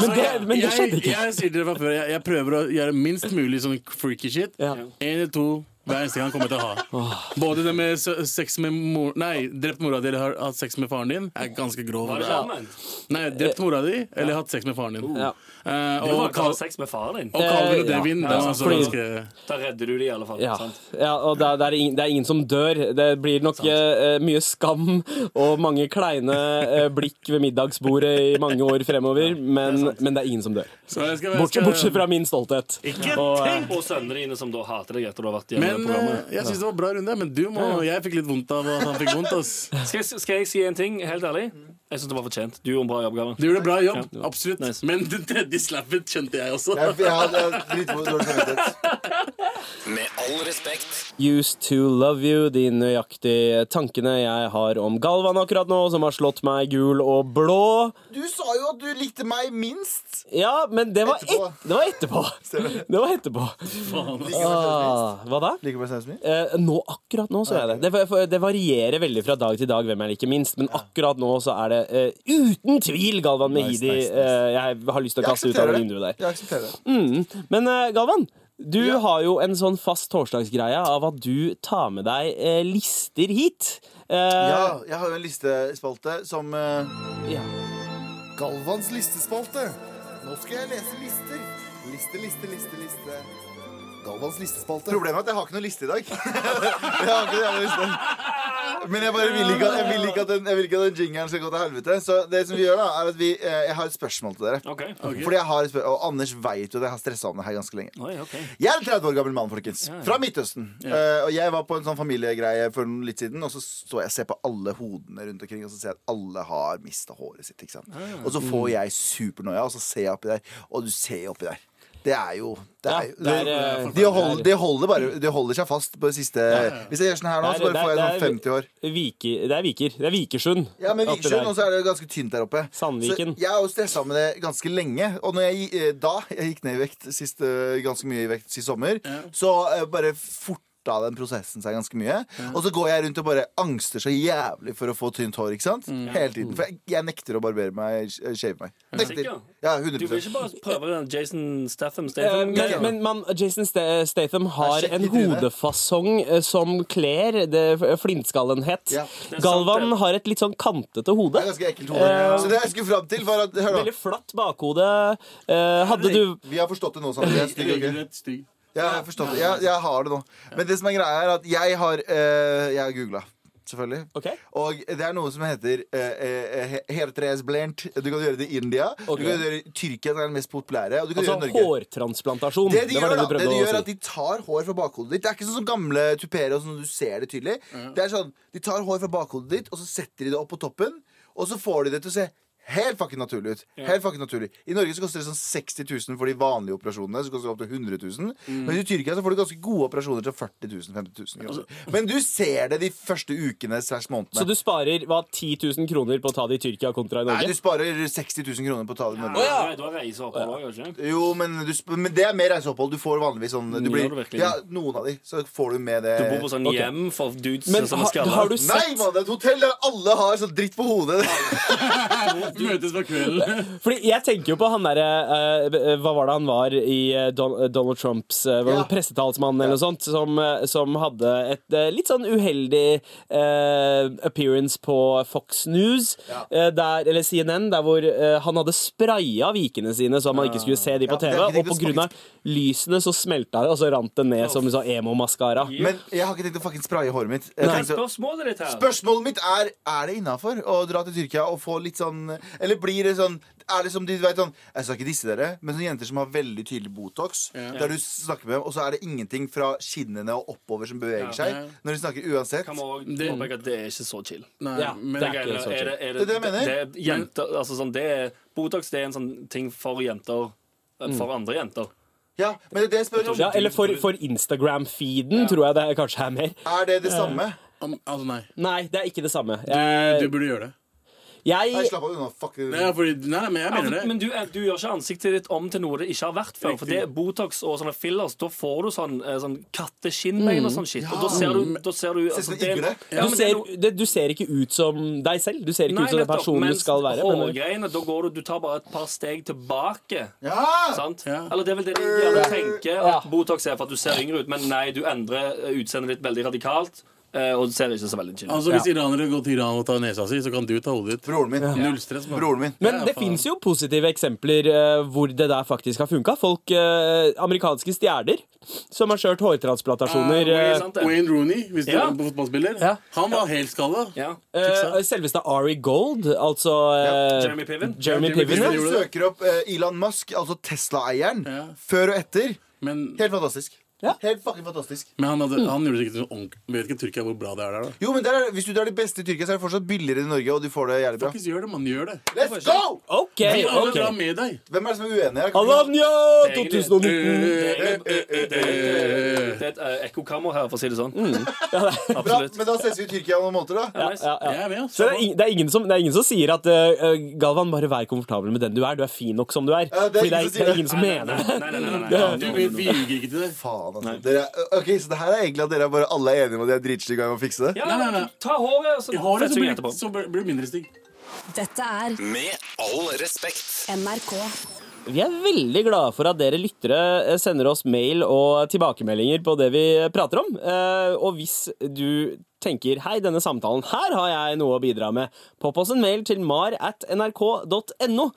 [SPEAKER 4] men, det, men det skjedde
[SPEAKER 3] Jeg,
[SPEAKER 4] ikke.
[SPEAKER 3] jeg sier til dere fra før, jeg, jeg prøver å gjøre minst mulig sånn freaky shit.
[SPEAKER 4] Ja.
[SPEAKER 3] En eller to hver eneste gang kommer jeg til å ha. Både det med se- sex med mor Nei, drept mora di eller har hatt sex med faren din, er ganske grov.
[SPEAKER 5] Var det sånn?
[SPEAKER 3] Ja.
[SPEAKER 5] sammen?
[SPEAKER 3] Nei, drept mora di eller hatt sex med faren din.
[SPEAKER 4] Ja.
[SPEAKER 3] Eh,
[SPEAKER 5] Du
[SPEAKER 3] og
[SPEAKER 5] var
[SPEAKER 3] Cal-
[SPEAKER 5] kalt sex med faren din.
[SPEAKER 3] og
[SPEAKER 4] Eh,
[SPEAKER 3] Calvin og
[SPEAKER 4] ja.
[SPEAKER 3] Devin.
[SPEAKER 4] Ja,
[SPEAKER 3] det var
[SPEAKER 4] sant.
[SPEAKER 3] altså
[SPEAKER 4] Fordi-
[SPEAKER 3] ganske
[SPEAKER 5] Da redder du det i alle fall.
[SPEAKER 4] Ja.
[SPEAKER 5] Sant?
[SPEAKER 4] ja, og det er, det, er ingen, det er ingen som dør. Det blir nok eh, mye skam og mange kleine eh, blikk ved middagsbordet i mange år fremover, men det er, men det er ingen som dør.
[SPEAKER 3] Så jeg skal- jeg
[SPEAKER 4] Bortsett,
[SPEAKER 3] skal-
[SPEAKER 4] bortsett fra min stolthet.
[SPEAKER 3] Ikke
[SPEAKER 4] Og, eh,
[SPEAKER 5] Og sønnene dine som da hater deg etter du har vært gjennom
[SPEAKER 3] Men
[SPEAKER 5] det
[SPEAKER 3] eh,
[SPEAKER 5] programmet.
[SPEAKER 3] jeg syns det var bra runde. Men du må Jeg fikk litt vondt av at han fikk vondt. ass
[SPEAKER 5] Skal jeg, skal jeg si en ting, helt ærlig?
[SPEAKER 2] Mm.
[SPEAKER 5] Jeg syns det var fortjent. Du gjorde en bra jobb, Galvan.
[SPEAKER 3] Du gjorde bra jobb. Absolutt.
[SPEAKER 5] Nice.
[SPEAKER 3] Men den tredje slappet kjente jeg også.
[SPEAKER 2] Jeg, jeg hadde dritdårlig samvittighet.
[SPEAKER 1] Med all respekt.
[SPEAKER 4] Used to love you, de nøyaktige tankene jeg har om Galvan akkurat nå, som har slått meg gul og blå.
[SPEAKER 2] Du sa jo at du likte meg minst.
[SPEAKER 4] Ja, men det var,
[SPEAKER 2] Etterpå.
[SPEAKER 4] Et, det var etterpå.
[SPEAKER 2] Stemmer.
[SPEAKER 4] Det var etterpå.
[SPEAKER 2] Liker du meg minst?
[SPEAKER 4] Ah, hva da?
[SPEAKER 2] Liker du meg minst?
[SPEAKER 4] Eh, nå, akkurat nå så er jeg det. det. var- Det varierer veldig fra dag til dag hvem jeg liker minst, men akkurat nå så er det eh, uten tvil Galvan Mehidi
[SPEAKER 2] nice, nice.
[SPEAKER 4] eh, jeg har lyst til å
[SPEAKER 2] Jeg
[SPEAKER 4] kaste ut av
[SPEAKER 2] aksepterer det.
[SPEAKER 4] det
[SPEAKER 5] Mm.
[SPEAKER 4] vinduet der.
[SPEAKER 2] Jeg aksepterer det.
[SPEAKER 4] Men eh, Galvan, Du har jo en sånn fast torsdagsgreie av at du tar med deg eh, lister hit. Eh,
[SPEAKER 2] Ja, jeg har jo en listespalte som eh,
[SPEAKER 4] ja.
[SPEAKER 7] Galvans listespalte. Nå skal jeg lese lister. Liste, liste, liste, liste. Galvans listespalte.
[SPEAKER 2] Problemet er at jeg har ikke noen liste i dag. jeg har ikke noen liste men jeg bare vil ikke at, jeg vil ikke at, den, jeg vil ikke at den jingeren skal gå til helvete. Så det som vi gjør da, er at vi, eh, jeg har et spørsmål til dere.
[SPEAKER 5] Ok.
[SPEAKER 2] Fordi jeg har et spørsmål, Og Anders vet jo det, jeg har stressa om det her ganske lenge.
[SPEAKER 5] Oi, ok.
[SPEAKER 2] Jeg er en 30 år gammel mann, folkens. Fra Midtøsten. Eh, og jeg var på en sånn familiegreie for noen litt siden, og så så jeg ser på alle hodene rundt omkring, og så ser jeg at alle har mista håret sitt. Ikke sant? Og så
[SPEAKER 4] Mm.
[SPEAKER 2] får jeg supernoia, og så ser jeg oppi der, og du ser oppi der. Det er jo, det
[SPEAKER 4] Ja,
[SPEAKER 2] er jo
[SPEAKER 4] det er, eh,
[SPEAKER 2] de, holder, de, holder bare, de holder seg fast på det siste Hvis jeg gjør sånn her nå, så bare får jeg sånn 50 år.
[SPEAKER 4] Viker, det er Viker. Det er Vikersund.
[SPEAKER 2] Ja, men
[SPEAKER 4] Oppi
[SPEAKER 2] Vikersund,
[SPEAKER 4] der.
[SPEAKER 2] og så er det ganske tynt der oppe.
[SPEAKER 4] Sandviken.
[SPEAKER 2] Så jeg har jo stressa med det ganske lenge. Og når jeg, eh, da jeg gikk ned i vekt sist, eh, ganske mye i vekt sist sommer, så eh, bare forta den prosessen seg ganske mye. Og så går jeg rundt og bare angster så jævlig for å få tynt hår. ikke sant? Hele tiden. For jeg, jeg nekter å barbere meg, eh, shave meg. Nekter.
[SPEAKER 5] Sikker?
[SPEAKER 2] Ja,
[SPEAKER 5] Mm. Du
[SPEAKER 2] 100
[SPEAKER 5] vil ikke bare prøve den Jason Statham?
[SPEAKER 4] Eh,
[SPEAKER 5] Statham
[SPEAKER 4] Men, men man, Jason Sta- Statham har
[SPEAKER 2] Det er
[SPEAKER 4] en
[SPEAKER 2] skikkelig tryne.
[SPEAKER 4] hodefasong eh, som kler det f- flintskallenhet.
[SPEAKER 2] Ja.
[SPEAKER 5] Det er sant,
[SPEAKER 4] Galvan
[SPEAKER 5] det.
[SPEAKER 4] har et litt sånn kantete hode.
[SPEAKER 2] Det er ganske ekkelt hode. Så det jeg skulle fram til, var at Hør nå.
[SPEAKER 4] Veldig flatt bakhode. Eh, Hadde du
[SPEAKER 2] Vi har forstått det nå, Sander. Jeg er stygg, ok?
[SPEAKER 3] Regelrett stygg.
[SPEAKER 2] Ja, jeg, forstår det. Jeg, jeg har det nå. Men det som er greia, er at jeg har eh, Jeg har googla. Selvfølgelig.
[SPEAKER 4] Ok.
[SPEAKER 2] Og det er noe som heter uh, hairtresblent. Du kan gjøre det i India.
[SPEAKER 4] Ok.
[SPEAKER 2] Du kan gjøre det i Tyrkia, som er den mest populære. Og du kan
[SPEAKER 4] Altså
[SPEAKER 2] gjøre det i Norge.
[SPEAKER 4] hårtransplantasjon.
[SPEAKER 2] Det de
[SPEAKER 4] var
[SPEAKER 2] gjør, da,
[SPEAKER 4] det du
[SPEAKER 2] det de
[SPEAKER 4] prøvde
[SPEAKER 2] gjør er
[SPEAKER 4] å
[SPEAKER 2] at
[SPEAKER 4] si.
[SPEAKER 2] de tar hår fra bakhodet ditt. Det er ikke sånn som gamle tupere, og sånn at du ser det tydelig. Det er sånn, De tar hår fra bakhodet ditt, og så setter de det opp på toppen, og så får de det til å se helt fucking naturlig ut. Helt fucking naturlig I Norge så koster det sånn 60 000 for de vanlige operasjonene. Så koster det opp til 100 000.
[SPEAKER 4] Mm.
[SPEAKER 2] Men i Tyrkia så får du ganske gode operasjoner til 40 000-50 000 kroner. Altså, Men du ser det de første ukene slash
[SPEAKER 4] Så
[SPEAKER 2] månedene.
[SPEAKER 4] du sparer hva, 10 000 kroner på å ta det i Tyrkia kontra i
[SPEAKER 2] Nei,
[SPEAKER 4] Norge?
[SPEAKER 2] du sparer 60 000 kroner på å ta det i Norge.
[SPEAKER 4] ja. Eh,
[SPEAKER 5] Du har reiseopphold òg, gjør du ikke?
[SPEAKER 2] Jo, men, du, sp- men det er mer reiseopphold. Du får vanligvis sånn du
[SPEAKER 5] Gjør
[SPEAKER 2] blir,
[SPEAKER 5] du virkelig det?
[SPEAKER 2] Ja, Noen av de. Så får du med det
[SPEAKER 5] Du bor på sånn
[SPEAKER 4] Ok.
[SPEAKER 5] hjem for dudes
[SPEAKER 4] Men
[SPEAKER 5] som er
[SPEAKER 4] har,
[SPEAKER 5] skalla.
[SPEAKER 4] har du
[SPEAKER 2] Nei,
[SPEAKER 4] sett
[SPEAKER 2] mann, det er et hotell der alle har sånn dritt på hodet.
[SPEAKER 3] Vi møtes på kvelden.
[SPEAKER 4] Fordi jeg tenker jo på han derre eh, Hva var det han var i eh, Don, eh, Donald Trumps eh, var det
[SPEAKER 2] Ja.
[SPEAKER 4] noen pressetalsmann eller noe sånt, som, eh, som hadde et eh, litt sånn uheldig eh, appearance på Fox News, eh, der, eller CNN, der hvor eh, han hadde spraya vikene sine så man ikke skulle se de
[SPEAKER 2] Ja,
[SPEAKER 4] på
[SPEAKER 2] det er
[SPEAKER 4] TV,
[SPEAKER 2] ikke det
[SPEAKER 4] og på grunn av lysene så smelta det, og så rant det ned som sånn emo-maskara.
[SPEAKER 2] Men jeg har ikke tenkt å fucking spraye håret mitt. Jeg
[SPEAKER 5] Hva er
[SPEAKER 2] tenkte-
[SPEAKER 5] spørsmålet ditt her?
[SPEAKER 2] Spørsmålet mitt er Er det innafor å dra til Tyrkia og få litt sånn Eller blir det sånn Er det som de vet sånn Jeg skal ikke disse dere, men sånne jenter som har veldig tydelig Botox, der du snakker med dem, og så er det ingenting fra kinnene og oppover som beveger seg når de snakker uansett.
[SPEAKER 5] Kan vi også
[SPEAKER 3] Det-
[SPEAKER 5] påpeke at det er ikke så chill.
[SPEAKER 3] Nei,
[SPEAKER 4] Ja,
[SPEAKER 3] men
[SPEAKER 4] det
[SPEAKER 5] Er
[SPEAKER 4] er
[SPEAKER 5] det,
[SPEAKER 4] ikke så
[SPEAKER 5] er
[SPEAKER 4] chill.
[SPEAKER 5] det, er
[SPEAKER 2] Det er det jeg mener.
[SPEAKER 5] Det er jenter, altså sånn, det er, Botox det er en sånn ting for jenter.
[SPEAKER 4] Mm.
[SPEAKER 5] eh, For andre jenter.
[SPEAKER 2] Ja, men det er det jeg spør om.
[SPEAKER 4] Ja, eller for, for Instagram-feeden tror jeg det er- kanskje er mer.
[SPEAKER 2] Er det det samme?
[SPEAKER 3] Om, altså, nei.
[SPEAKER 4] Nei, det er ikke det samme.
[SPEAKER 5] Eh,
[SPEAKER 3] Du, du
[SPEAKER 4] Jeg,
[SPEAKER 3] burde gjøre det.
[SPEAKER 2] Nei,
[SPEAKER 4] jeg
[SPEAKER 2] slapp av unna. Fuck det.
[SPEAKER 3] Nei, fordi, nei, nei, men jeg mener det.
[SPEAKER 5] Men du, eh, du gjør ikke ansiktet ditt om til noe det ikke har vært før. For det er Botox og sånne fillers, da får du sånn, eh, sånn katteskinnbein og sånn shit. Og da ser du, da ser du altså,
[SPEAKER 2] som en
[SPEAKER 5] det er-
[SPEAKER 2] igle.
[SPEAKER 5] Ja,
[SPEAKER 4] du,
[SPEAKER 5] men det er
[SPEAKER 4] ser,
[SPEAKER 5] noe-
[SPEAKER 4] det, du ser ikke ut som deg selv. Du ser ikke ut som den
[SPEAKER 5] nettopp,
[SPEAKER 4] personen du
[SPEAKER 5] mens
[SPEAKER 4] skal være. Men,
[SPEAKER 5] Hårgreiene, da går du, du tar bare et par steg tilbake.
[SPEAKER 2] Ja!
[SPEAKER 5] Sant?
[SPEAKER 3] Ja.
[SPEAKER 5] Eller det er vel det de gjerne tenker at Botox er for at du ser yngre ut, men nei, du endrer eh, utseendet ditt veldig radikalt, eh, og du ser ikke så veldig chill ut.
[SPEAKER 3] Altså, Hvis iranere går til Iran og tar nesa si, så kan du ta hodet ditt.
[SPEAKER 2] Broren min.
[SPEAKER 3] Null stress. mann.
[SPEAKER 2] Broren min.
[SPEAKER 4] men det fins jo positive eksempler eh, hvor det der faktisk har funka. Folk eh, Amerikanske stjerner som har kjørt hårtransplantasjoner.
[SPEAKER 5] Ja, sånn-
[SPEAKER 4] eh,
[SPEAKER 5] sant det?
[SPEAKER 3] Wayne Rooney, hvis du
[SPEAKER 5] Ja.
[SPEAKER 3] er på fotballspiller,
[SPEAKER 4] Ja.
[SPEAKER 3] han var helt skalla.
[SPEAKER 5] Ja.
[SPEAKER 4] eh, selveste Ari Gold, altså eh,
[SPEAKER 5] Jeremy Piven.
[SPEAKER 4] Jeremy
[SPEAKER 3] Ja, Jeremy
[SPEAKER 4] Piven.
[SPEAKER 2] Hvis
[SPEAKER 4] ja.
[SPEAKER 2] du
[SPEAKER 3] gjorde det.
[SPEAKER 2] søker opp eh, Elon Musk, altså Tesla-eieren,
[SPEAKER 3] Ja.
[SPEAKER 2] før og etter
[SPEAKER 3] Men,
[SPEAKER 2] Helt Mm. fantastisk.
[SPEAKER 4] Ja.
[SPEAKER 2] Helt fucking fantastisk.
[SPEAKER 3] men han, hadde, han gjorde det ikke sånn ordentlig. Vet ikke Tyrkia hvor bra det er der, da.
[SPEAKER 2] Jo, men der er, Hvis du drar de beste i Tyrkia, så er det fortsatt billigere i Norge. Og du får det jævlig bra
[SPEAKER 3] Faktisk gjør det, man gjør det.
[SPEAKER 2] Let's go!
[SPEAKER 4] OK,
[SPEAKER 3] Vi alle
[SPEAKER 4] OK.
[SPEAKER 3] drar med deg.
[SPEAKER 2] Hvem er det som er uenig her? Eh,
[SPEAKER 4] Alanya
[SPEAKER 5] Egentlig-
[SPEAKER 4] 2019!
[SPEAKER 3] Eh,
[SPEAKER 5] Det er det er et eh, ekkokammer her, for å si det sånn.
[SPEAKER 2] Bra,
[SPEAKER 5] Absolutt.
[SPEAKER 2] men da ses vi i Tyrkia om noen måneder, da.
[SPEAKER 5] Ja, nice.
[SPEAKER 4] Ja, ja.
[SPEAKER 3] Jeg er med, altså. ass.
[SPEAKER 4] Så det er, ing- det, er ingen som, det er ingen som sier at eh, eh, Galvan, bare vær komfortabel med den du er. Du er fin nok som du er.
[SPEAKER 2] Ja, det er
[SPEAKER 4] Fordi det
[SPEAKER 2] ingen
[SPEAKER 4] er,
[SPEAKER 2] som
[SPEAKER 4] det
[SPEAKER 2] sier
[SPEAKER 4] er ingen som
[SPEAKER 5] Nei, nei,
[SPEAKER 4] mener det.
[SPEAKER 5] nei, nei, nei, nei, nei.
[SPEAKER 3] Du vet, vi ljuger ikke til deg.
[SPEAKER 2] Faen, altså. Dere er, ok, Så det her er egentlig at dere er bare alle er enige om at jeg er dritstygg og jeg må fikse det?
[SPEAKER 5] Ja,
[SPEAKER 3] Nei, nei, nei.
[SPEAKER 5] Ta håret, og så
[SPEAKER 3] I håret
[SPEAKER 5] fetser
[SPEAKER 3] så
[SPEAKER 5] vi
[SPEAKER 3] blir,
[SPEAKER 5] etterpå.
[SPEAKER 3] så blir blir det mindre stygg.
[SPEAKER 6] Dette er
[SPEAKER 1] Med all respekt.
[SPEAKER 6] NRK.
[SPEAKER 4] Vi er veldig glade for at dere lyttere eh, sender oss mail og tilbakemeldinger på det vi prater om. Eh, Og hvis du tenker 'hei, denne samtalen her har jeg noe å bidra med', popp oss en mail til mar at nrk.no.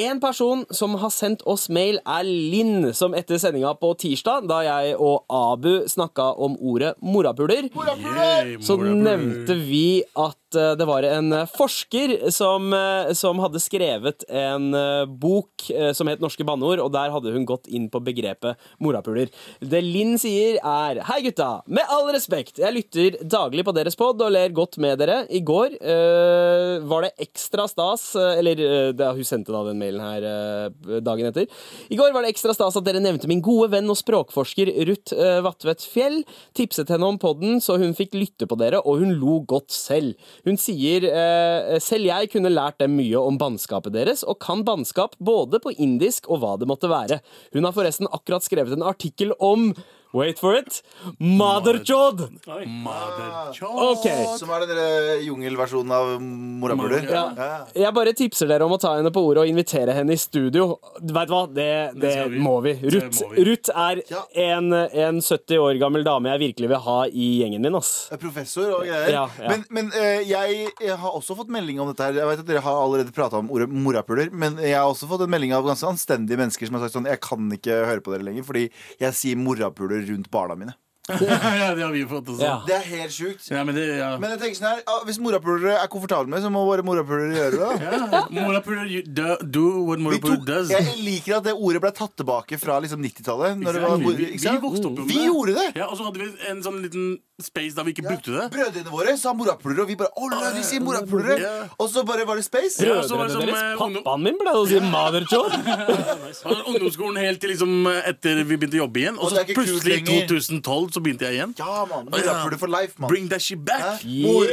[SPEAKER 4] En person som har sendt oss mail, er Linn, som etter sendinga på tirsdag, da jeg og Abu snakka om ordet morapuler,
[SPEAKER 3] Yay,
[SPEAKER 4] så
[SPEAKER 3] morapuler.
[SPEAKER 4] nevnte vi at eh, det var en eh, forsker som, eh, som hadde skrevet en eh, bok eh, som het Norske banneord, og der hadde hun gått inn på begrepet morapuler. Det Linn sier er Hei gutta, med all respekt, jeg lytter daglig på deres pod og ler godt med dere. I går eh, var det ekstra stas, eh, eller eh, det, hun sendte da den mailen her eh, dagen etter. I går var det ekstra stas at dere nevnte min gode venn og språkforsker Ruth eh, Vatvedt Fjell. Tipset henne om podden, så hun fikk lytte på dere, og hun lo godt selv. Hun sier eh, selv jeg kunne lært dem mye om bannskapet deres, og kan bannskap både på indisk og hva det måtte være. Hun har forresten akkurat skrevet en artikkel om Wait for it! Motherjod! Mm.
[SPEAKER 2] Ah.
[SPEAKER 3] Mother
[SPEAKER 2] Oh.
[SPEAKER 3] choice.
[SPEAKER 4] Ok.
[SPEAKER 2] Som er den der jungelversjonen av morapuler.
[SPEAKER 3] Ja.
[SPEAKER 2] Ja.
[SPEAKER 4] Jeg bare tipser dere om å ta henne på ordet og invitere henne i studio. Vet du hva? Det, det,
[SPEAKER 3] skal vi.
[SPEAKER 4] må vi.
[SPEAKER 3] Det
[SPEAKER 4] Ruth,
[SPEAKER 3] må vi.
[SPEAKER 4] Ruth er en, en 70 år gammel dame jeg virkelig vil ha i gjengen min. ass.
[SPEAKER 2] Professor og greier.
[SPEAKER 4] Ja, ja.
[SPEAKER 2] Men, men eh, jeg, jeg har også fått melding om dette her. Jeg vet at Dere har allerede prata om ordet morapuler, men jeg har også fått en melding av ganske anstendige mennesker som har sagt sånn Jeg kan ikke høre på dere lenger, fordi jeg sier morapuler rundt barna mine.
[SPEAKER 3] ja, det har vi fått også.
[SPEAKER 4] Ja.
[SPEAKER 2] Det er helt sjukt.
[SPEAKER 3] Ja, men det, ja.
[SPEAKER 2] Men jeg tenker sånn her, ah, hvis morapulere er komfortable med, så må bare morapulere gjøre det. da
[SPEAKER 3] ja. Morapuler, you do, do what
[SPEAKER 2] Vi
[SPEAKER 3] morapuler
[SPEAKER 2] tok,
[SPEAKER 3] does.
[SPEAKER 2] jeg liker at det ordet ble tatt tilbake fra liksom 90-tallet. når det var-
[SPEAKER 3] Exactly. Vi,
[SPEAKER 2] ikke
[SPEAKER 3] vi
[SPEAKER 2] sant? Mm.
[SPEAKER 3] vokste opp med
[SPEAKER 2] Vi
[SPEAKER 3] det.
[SPEAKER 2] gjorde det!
[SPEAKER 3] Ja, og så hadde vi en sånn liten space da vi ikke brukte det.
[SPEAKER 2] Brødrene våre sa morapulere, og vi bare Å, de sier
[SPEAKER 3] Ja.
[SPEAKER 2] morapulere! Og så bare var det space.
[SPEAKER 3] Ja, så var
[SPEAKER 4] Brødrene
[SPEAKER 3] det som,
[SPEAKER 4] deres?
[SPEAKER 3] eh, ungdom-
[SPEAKER 4] Pappaen min pleide å si 'motherjod'.
[SPEAKER 3] Og den Ungdomsskolen helt til liksom etter vi begynte å jobbe igjen. Og
[SPEAKER 2] Og det
[SPEAKER 3] så
[SPEAKER 2] er ikke kult
[SPEAKER 3] plutselig i
[SPEAKER 2] lenger.
[SPEAKER 3] 2012 så begynte jeg igjen.
[SPEAKER 2] Ja, mann.
[SPEAKER 3] Ja.
[SPEAKER 2] Morapulere for life, mann.
[SPEAKER 3] Bring that shit back.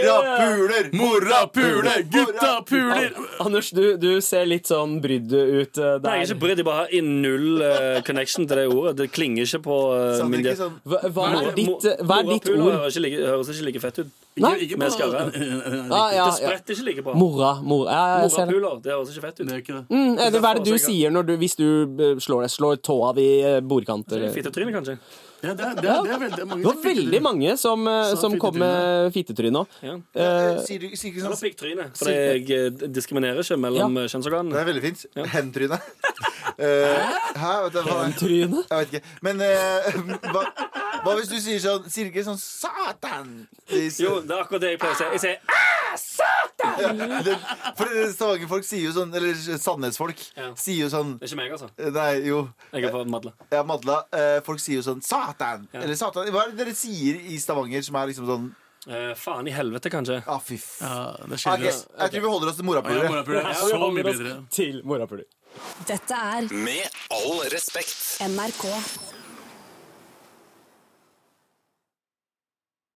[SPEAKER 2] Morapuler!
[SPEAKER 3] Morapuler, gutta puler!
[SPEAKER 4] Anders, du, du ser litt sånn brydd ut eh,
[SPEAKER 5] Nei, jeg er
[SPEAKER 4] der.
[SPEAKER 5] ikke brydd. Jeg bare har i null eh, connection til det ordet. Det klinger ikke på eh,
[SPEAKER 2] Sa dere
[SPEAKER 5] min
[SPEAKER 2] ikke
[SPEAKER 5] del.
[SPEAKER 2] sånn
[SPEAKER 4] Hva, hva
[SPEAKER 5] Mor-
[SPEAKER 4] er ditt, eh,
[SPEAKER 5] mor-
[SPEAKER 4] hva er ditt
[SPEAKER 5] morapuler
[SPEAKER 4] ord?
[SPEAKER 5] Høres ikke, like, høres ikke like fett ut.
[SPEAKER 4] Nei.
[SPEAKER 3] Ikke- ikke
[SPEAKER 5] Men
[SPEAKER 3] bare-
[SPEAKER 5] skal være.
[SPEAKER 4] Ja, Ah, ja, ja.
[SPEAKER 5] Det spretter ikke like bra.
[SPEAKER 4] Mora, mora. Ja, ja, jeg ser det.
[SPEAKER 5] Morapuler, det høres ikke fett ut.
[SPEAKER 3] Det er ikke det.
[SPEAKER 4] Mm, Eddie, hva er det du
[SPEAKER 5] Derfor også,
[SPEAKER 4] sier når du, hvis du eh, slår, deg- slår tåa di eh, bordkant? Eller?
[SPEAKER 5] Fittetryne, kanskje.
[SPEAKER 3] Ja, det, er, det, er, det er veldig mange
[SPEAKER 4] Det var veldig mange som, eh,
[SPEAKER 3] Sa
[SPEAKER 4] som kom med fittetryne nå.
[SPEAKER 5] Ja.
[SPEAKER 2] eh, Sier du sier ikke
[SPEAKER 5] Eller
[SPEAKER 2] sånn?
[SPEAKER 5] pikktryne. For jeg eh, diskriminerer ikke mellom eh,
[SPEAKER 2] Det er
[SPEAKER 5] kjønnsorganene.
[SPEAKER 2] veldig fint. Hendtryne. Eh, Hæ? Vet du hva det er?
[SPEAKER 4] Tryne?
[SPEAKER 2] Jeg vet ikke. Men eh, hva, hva hvis du sier sånn Sier ikke sånn Satan! Det-
[SPEAKER 5] Jo, det er akkurat det jeg pleier å si. Jeg sier «Ah!»
[SPEAKER 2] ja, det- For stavangerfolk sier jo sånn Eller sannhetsfolk
[SPEAKER 5] Ja.
[SPEAKER 2] sier jo sånn
[SPEAKER 5] Det er ikke meg, altså.
[SPEAKER 2] eh, Nei, jo.
[SPEAKER 5] Jeg er fra Madla.
[SPEAKER 2] Ja, Madla. eh, folk sier jo sånn Satan! Eller Satan. Hva er det dere sier i Stavanger som er liksom sånn
[SPEAKER 5] Eh, faen i helvete, kanskje.
[SPEAKER 2] Ah, fy f...
[SPEAKER 3] Ja, det er
[SPEAKER 2] Ok,
[SPEAKER 3] kjedelig. ass.
[SPEAKER 2] Jeg tror vi holder oss til
[SPEAKER 3] Ja,
[SPEAKER 2] morapulere.
[SPEAKER 3] morapuler er så mye bedre.
[SPEAKER 4] Til morapuler.
[SPEAKER 6] Dette er
[SPEAKER 1] Med all respekt.
[SPEAKER 6] NRK.